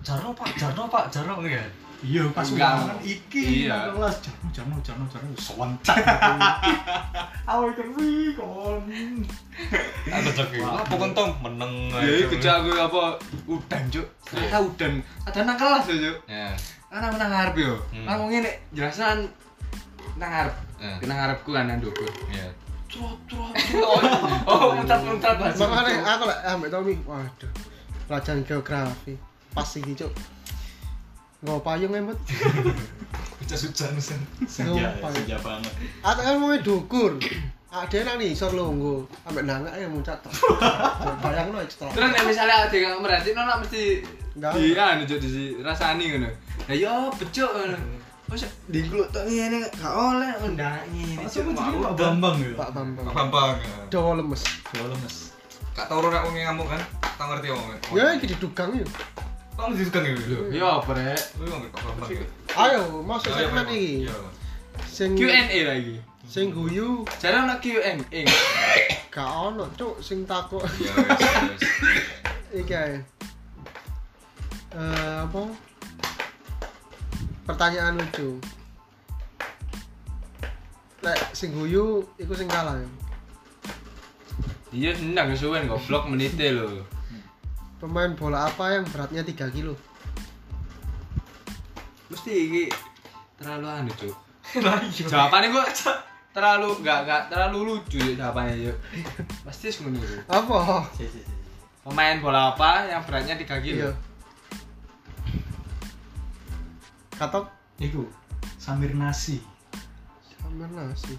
Speaker 4: Jarno Pak, Jarno Pak, Jarno gitu ya.
Speaker 3: Iya pas
Speaker 1: Enggak.
Speaker 3: ulangan iki
Speaker 1: Iya.
Speaker 3: nang kelas Jarno Jarno Jarno Jarno sewentak Awal kerwi kon
Speaker 4: Aku joki.
Speaker 3: Wah.
Speaker 4: Apa kontong meneng.
Speaker 1: Ya, iku Cuk, aku apa udan, Cuk. Ternyata udan. Ada nang kelas, ya, Cuk.
Speaker 4: Ya.
Speaker 1: Ana nang ngarep yo.
Speaker 4: Hmm.
Speaker 1: Nang ngene jelasan nang ngarep.
Speaker 4: Eh.
Speaker 1: Nang ngarepku kan nang dukur.
Speaker 4: Ya.
Speaker 1: Trot trot. trot. Oh, mutat-mutat lah. Cuk.
Speaker 2: Makanya aku lek ah, ambek Tommy, waduh. Pelajaran geografi. Pas iki, Cuk. Nggak payung e, emot.
Speaker 4: Hujan-hujan sen.
Speaker 3: Senja
Speaker 2: Sumpah.
Speaker 3: senja Iya, banget
Speaker 2: Aku kan mau dukur. Ah, dia nang isor lho nggo. Ambek nangak e, ya muncat. Bayangno ekstra.
Speaker 1: Terus nek misalnya ada yang merhatiin, nona mesti
Speaker 2: Enggak.
Speaker 1: di anu jadi di rasani ngono. Ya yo becuk ngono. Wis digluk tok ngene gak oleh ndak ngene.
Speaker 3: Masa
Speaker 1: Cuk,
Speaker 3: aku jadi
Speaker 1: mau
Speaker 3: Pak
Speaker 1: udan.
Speaker 3: Bambang ya?
Speaker 2: Pak Bambang.
Speaker 4: Bambang.
Speaker 2: Dawa lemes.
Speaker 3: Soalnya mas
Speaker 4: Kak tau ora wong ngamuk kan? Tak ngerti wong.
Speaker 2: Ya iki didugang yo.
Speaker 4: Kok mesti suka gitu. Lho.
Speaker 1: Yo brek.
Speaker 4: Lu ngomong Kak Bambang. ya?
Speaker 2: Ayo, masuk
Speaker 4: Ya, ya,
Speaker 2: segmen
Speaker 4: Bambang.
Speaker 2: iki.
Speaker 4: Ya.
Speaker 2: Sing
Speaker 1: Q&A lagi.
Speaker 2: sing guyu
Speaker 1: Jare ono QM ing.
Speaker 2: gak ono cuk sing takok
Speaker 4: Ya wes, wes.
Speaker 2: iki ae Iya, Eh, apa pertanyaan lucu lek sing guyu iku sing kalah ya
Speaker 1: Iya senang suwen goblok menite lho.
Speaker 2: pemain bola apa yang beratnya 3 kilo
Speaker 1: Mesti iki terlalu anu, Cuk.
Speaker 3: iya.
Speaker 1: Jawabannya gua terlalu enggak enggak terlalu lucu ya jawabannya yuk. Pasti ngono itu.
Speaker 2: apa
Speaker 3: Si, si, si.
Speaker 1: Pemain bola apa yang beratnya 3
Speaker 2: Iya.
Speaker 4: Iya.
Speaker 1: kilo?
Speaker 2: katok
Speaker 3: Iku Samir Nasi.
Speaker 2: sama nasi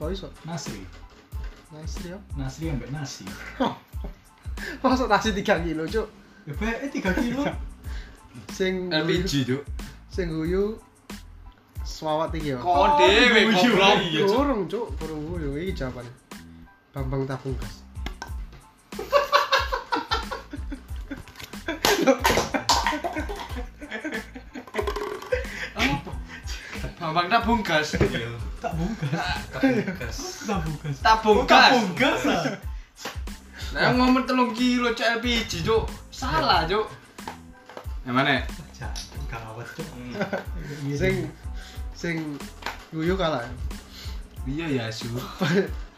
Speaker 2: kok iso
Speaker 3: Nasri.
Speaker 2: nasi ya
Speaker 3: Nasri ambek nasi.
Speaker 2: masuk nasi 3 kilo cuk
Speaker 3: Ya bae 3 kilo.
Speaker 2: sing guyu-
Speaker 1: LPG, Cuk.
Speaker 2: sing guyu selawat iki ya
Speaker 1: Kok dhewe
Speaker 3: guyu,
Speaker 1: goblok.
Speaker 3: iya, Cuk.
Speaker 2: Kurung cuk, kurung guyu iki jawaban. Bambang Tabungkas.
Speaker 1: Apa? Bambang tabung gas.
Speaker 4: Iya.
Speaker 3: Tak bungkas.
Speaker 4: Kebukas.
Speaker 3: Tak bungkas.
Speaker 1: Tabung
Speaker 3: Tak
Speaker 1: gas.
Speaker 3: bungkas ah.
Speaker 1: Nah, ngomong telung kilo cok LPG, Cuk. Salah,
Speaker 4: Iya.
Speaker 1: Cuk. Yang mana?
Speaker 3: Jangan gawat cok. Iya,
Speaker 2: Sing sing guyu kalah.
Speaker 1: Iya ya, Cuk.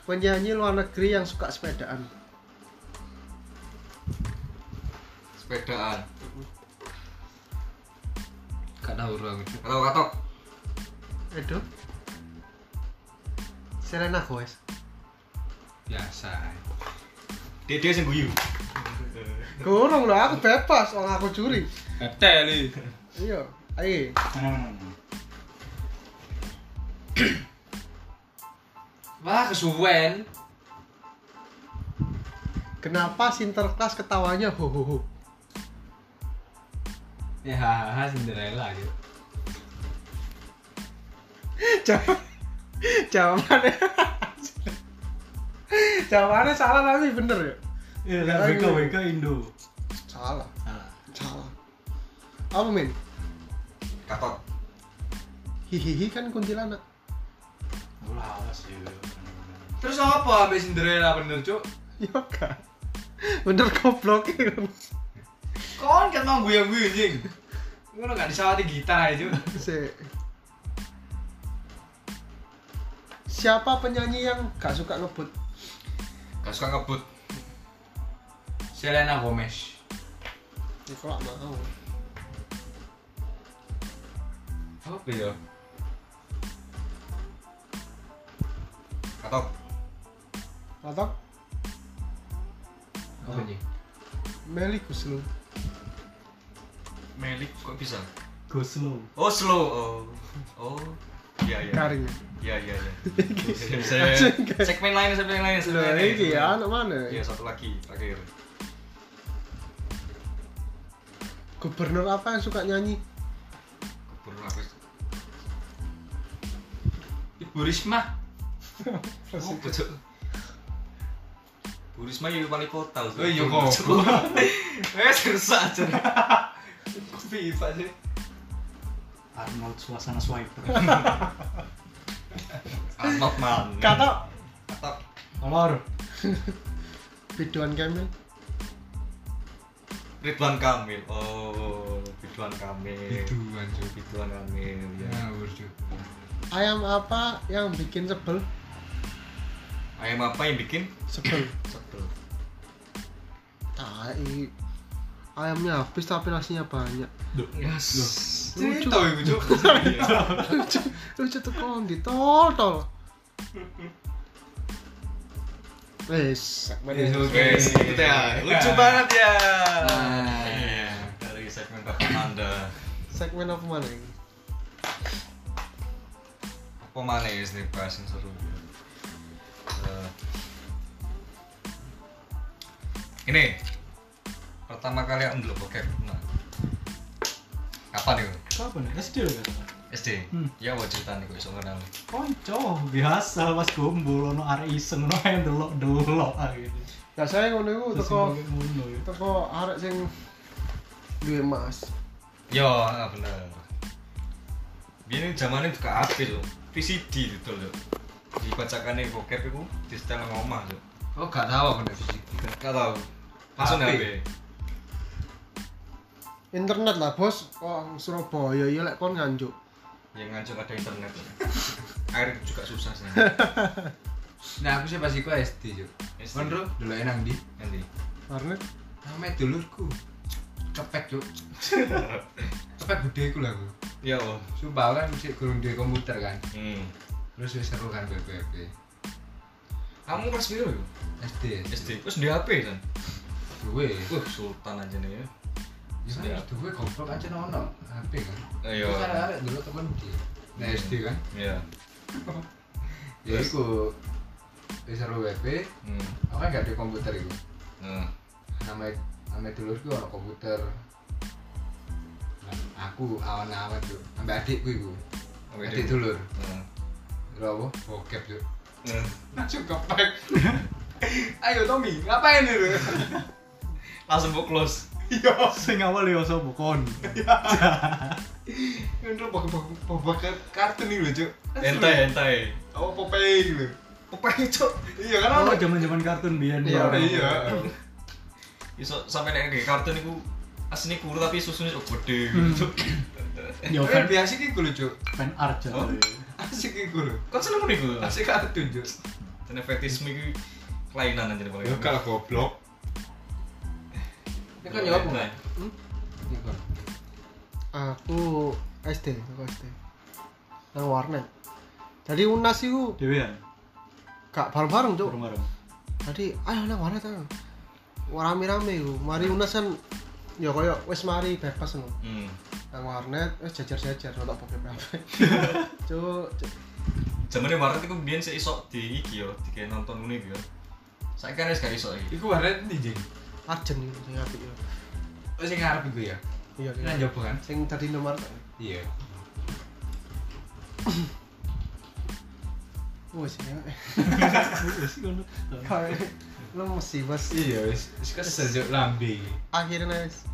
Speaker 2: Penyanyi luar negeri yang suka sepedaan.
Speaker 4: Sepedaan.
Speaker 1: Gak tahu aku, Cuk.
Speaker 4: Atau katok.
Speaker 2: Edo. Selena Gomez.
Speaker 1: Biasa.
Speaker 4: Dede sing guyu.
Speaker 2: Kurung lah, aku bebas, orang aku juri.
Speaker 1: Ngeteli.
Speaker 2: Iya, ayo.
Speaker 3: Mana mana. mana.
Speaker 1: Wah, kesuwen.
Speaker 2: Kenapa Sinterklas ketawanya ho ho ho?
Speaker 1: Ya, hahaha, Cinderella gitu.
Speaker 2: Jawab- Jawabannya Jawabannya salah tapi bener ya?
Speaker 3: Iya,
Speaker 2: Nggak
Speaker 3: WK
Speaker 2: lagi.
Speaker 3: WK Indo.
Speaker 2: Salah,
Speaker 3: Salah.
Speaker 2: salah. Apa min?
Speaker 4: Katok.
Speaker 2: Hihihi kan kuntilanak.
Speaker 3: Aku lawas ya.
Speaker 1: Terus apa abis Cinderella bener cuk?
Speaker 2: Iya kan? Bener goblok ya.
Speaker 1: Kon kan mau gue gue anjing. Ngono gak disawati gitar aja cuk.
Speaker 2: Se- Siapa penyanyi yang gak suka ngebut?
Speaker 4: Gak suka ngebut.
Speaker 1: Selena Gomez.
Speaker 2: Ya kalau nggak mau.
Speaker 1: Apa ya?
Speaker 4: Katok.
Speaker 2: Atau
Speaker 1: Apa nih?
Speaker 2: Meli Guslu.
Speaker 4: Melik kok bisa?
Speaker 3: Go slow.
Speaker 4: Oh slow. Oh. Oh. Iya iya.
Speaker 2: Garing.
Speaker 4: Iya iya iya. Saya- Segmen lain, segmen lain, segmen
Speaker 2: Lah
Speaker 4: lain.
Speaker 2: iki ya anak mana?
Speaker 4: Iya satu lagi terakhir.
Speaker 2: Gubernur apa yang suka nyanyi?
Speaker 4: Keburu aku.
Speaker 1: Ibu Risma.
Speaker 4: Oh, betul. Bu Risma ya wali kota. Ustaz.
Speaker 1: Oh iya kok.
Speaker 4: Eh, susah aja.
Speaker 1: FIFA sih.
Speaker 3: Arnold suasana swiper.
Speaker 4: Arnold man.
Speaker 2: Kata
Speaker 4: Katok.
Speaker 3: Kolor.
Speaker 2: Biduan Kamil.
Speaker 4: Ridwan Kamil. Oh, Ridwan Kamil.
Speaker 1: Biduan cuk. Nah.
Speaker 4: Ridwan Kamil ya.
Speaker 1: Ngawur cuk.
Speaker 2: Ayam apa yang bikin sebel?
Speaker 4: Ayam apa yang bikin?
Speaker 2: Sebel.
Speaker 4: Sebel.
Speaker 2: Tai. Ayamnya habis tapi nasinya banyak.
Speaker 4: Yes.
Speaker 2: Lucu.
Speaker 1: Cerita ibu cuk.
Speaker 2: lucu lucu tuh kondi totol wes
Speaker 1: Wes,
Speaker 4: Guys, gitu ya. Lucu banget ya.
Speaker 1: Nah.
Speaker 4: Iya, Dari segmen pertama Anda.
Speaker 2: segmen apa mana ini
Speaker 4: Apa mana ya sini bahas yang seru? Eh, ini pertama kali aku dulu bokep. Nah. Kapan itu?
Speaker 3: Kapan? SD lho kan.
Speaker 4: SD.
Speaker 3: Hmm.
Speaker 4: Ya mau cerita nih kok iso kenal.
Speaker 3: Konco biasa pas gombol ono arek iseng ono yang delok-delok ah gitu.
Speaker 2: nah saya ngono itu
Speaker 3: Terus
Speaker 2: teko
Speaker 3: yang pakai ngono ya.
Speaker 2: teko arek sing duwe emas
Speaker 4: Yo, ah, bener. Biar ini zamannya juga apil loh. VCD gitu loh. dibacakan nih bokep itu di setel nang omah Cuk.
Speaker 1: Oh gak tahu aku nek fisik.
Speaker 4: gak tau langsung
Speaker 1: HP.
Speaker 4: HP
Speaker 2: internet lah bos oh Surabaya ya lek kon nganjuk
Speaker 4: yang ngancok ada internet air juga susah sih
Speaker 1: Nah aku sih pas iku SD yo.
Speaker 4: SD.
Speaker 1: Kon ro dulu enang di.
Speaker 4: nanti
Speaker 2: warnet
Speaker 1: Nama dulurku. Cepet cuk. Cepet budeku lah aku.
Speaker 4: ya Allah
Speaker 1: Sumpah aku kan mesti gurung duwe komputer kan.
Speaker 4: hmm.
Speaker 1: Terus wis seru kan BBB.
Speaker 4: kamu kelas biru ya?
Speaker 1: SD.
Speaker 4: SD terus di HP kan
Speaker 1: Duwe.
Speaker 4: wah sultan aja nih ya
Speaker 1: Ya kan duwe goblok aja ono HP kan.
Speaker 4: Iya.
Speaker 1: Terus arek-arek dulu temen di. Nah SD kan.
Speaker 4: iya
Speaker 1: Ya
Speaker 4: Terus?
Speaker 1: iku wis seru WP.
Speaker 4: hmm.
Speaker 1: Aku kan gak duwe komputer iku.
Speaker 4: nah.
Speaker 1: nama nama dulurku ono komputer Nah, aku awan awan tuh ambil adikku ibu
Speaker 4: Ambil
Speaker 1: adik
Speaker 4: adikmu.
Speaker 1: dulur
Speaker 4: Nah.
Speaker 1: Rawo, bokep tuh
Speaker 4: Nah.
Speaker 1: langsung kepek ayo Tommy ngapain dulu
Speaker 4: langsung mau close
Speaker 3: Iya. Sing awal ya sapa kon.
Speaker 1: ini bokep bokep bokep kartun nih lucu
Speaker 4: hentai hentai
Speaker 1: oh Popeye gitu
Speaker 4: Popeye cok
Speaker 1: iya kan
Speaker 3: Oh,
Speaker 1: ono
Speaker 3: zaman-zaman kartun biyen.
Speaker 1: iya
Speaker 3: ya. Bro.
Speaker 1: iya
Speaker 4: iso sampai nek kayak kartun itu asli kuru tapi susunya cok gede
Speaker 3: Hmm.
Speaker 4: gitu
Speaker 3: Yo
Speaker 1: tapi
Speaker 3: Ya,
Speaker 1: lebih Eh,
Speaker 3: fan,
Speaker 1: asik iku lucu
Speaker 3: fan art ya.
Speaker 4: Oh.
Speaker 3: jare.
Speaker 1: asik iku lho
Speaker 4: kan seneng nih gue
Speaker 1: asik kartun tuh
Speaker 4: karena fetisme itu kelainan aja nih paling
Speaker 1: goblok ini kan ya apa
Speaker 4: Nah,
Speaker 1: Ini kan.
Speaker 2: aku SD aku SD nang warnet jadi unas itu
Speaker 3: Dewean,
Speaker 2: gak bareng bareng cuk
Speaker 3: bareng-bareng.
Speaker 2: tadi ayo nang warnet ayo rame-rame iku mari unas kan ya koyo wis mari bebas ngono
Speaker 4: hmm.
Speaker 2: nang warnet wis jajar-jajar nonton Pokemon cuk cuk.
Speaker 4: Jamannya warnet itu biyen sik iso di iki yo, dikene nonton ngene iki yo. Saiki kan wis gak iso iki.
Speaker 1: iku warnet nih jeng
Speaker 2: arjen iku sing apik ya
Speaker 1: oh sing ngarep iku ya
Speaker 2: iya
Speaker 1: ini
Speaker 2: iya.
Speaker 1: kan jopo kan
Speaker 2: sing tadi nomor
Speaker 1: iya
Speaker 2: wis ya
Speaker 3: Wis ngono.
Speaker 2: kayak lu mesti bos
Speaker 1: iya wis wis kesel juk lambe
Speaker 2: akhirnya wis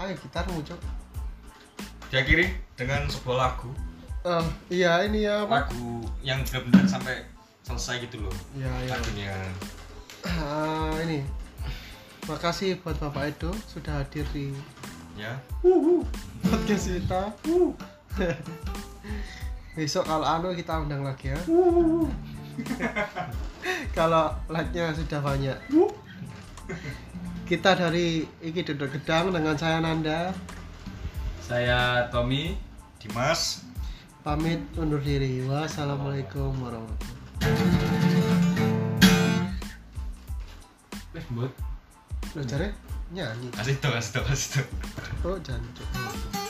Speaker 2: ayo gitarmu cuk
Speaker 4: Diakhiri dengan sebuah lagu,
Speaker 2: eh iya ini ya apa
Speaker 4: lagu yang benar-benar sampai selesai gitu loh.
Speaker 2: iya iya
Speaker 4: Lagunya.
Speaker 2: Ah, ini makasih buat bapak Edo sudah hadir di
Speaker 4: Ya.
Speaker 2: podcast kita besok kalau anu kita undang lagi ya kalau like-nya sudah banyak kita dari Iki Duduk Gedang dengan saya Nanda
Speaker 1: saya Tommy
Speaker 4: Dimas
Speaker 2: pamit undur diri wassalamualaikum warahmatullahi wabarakatuh
Speaker 1: wis mbut
Speaker 2: Loh, jare nyanyi
Speaker 3: Eh,
Speaker 4: Asik tuh, asik tuh, asik tuh.
Speaker 2: oh jancuk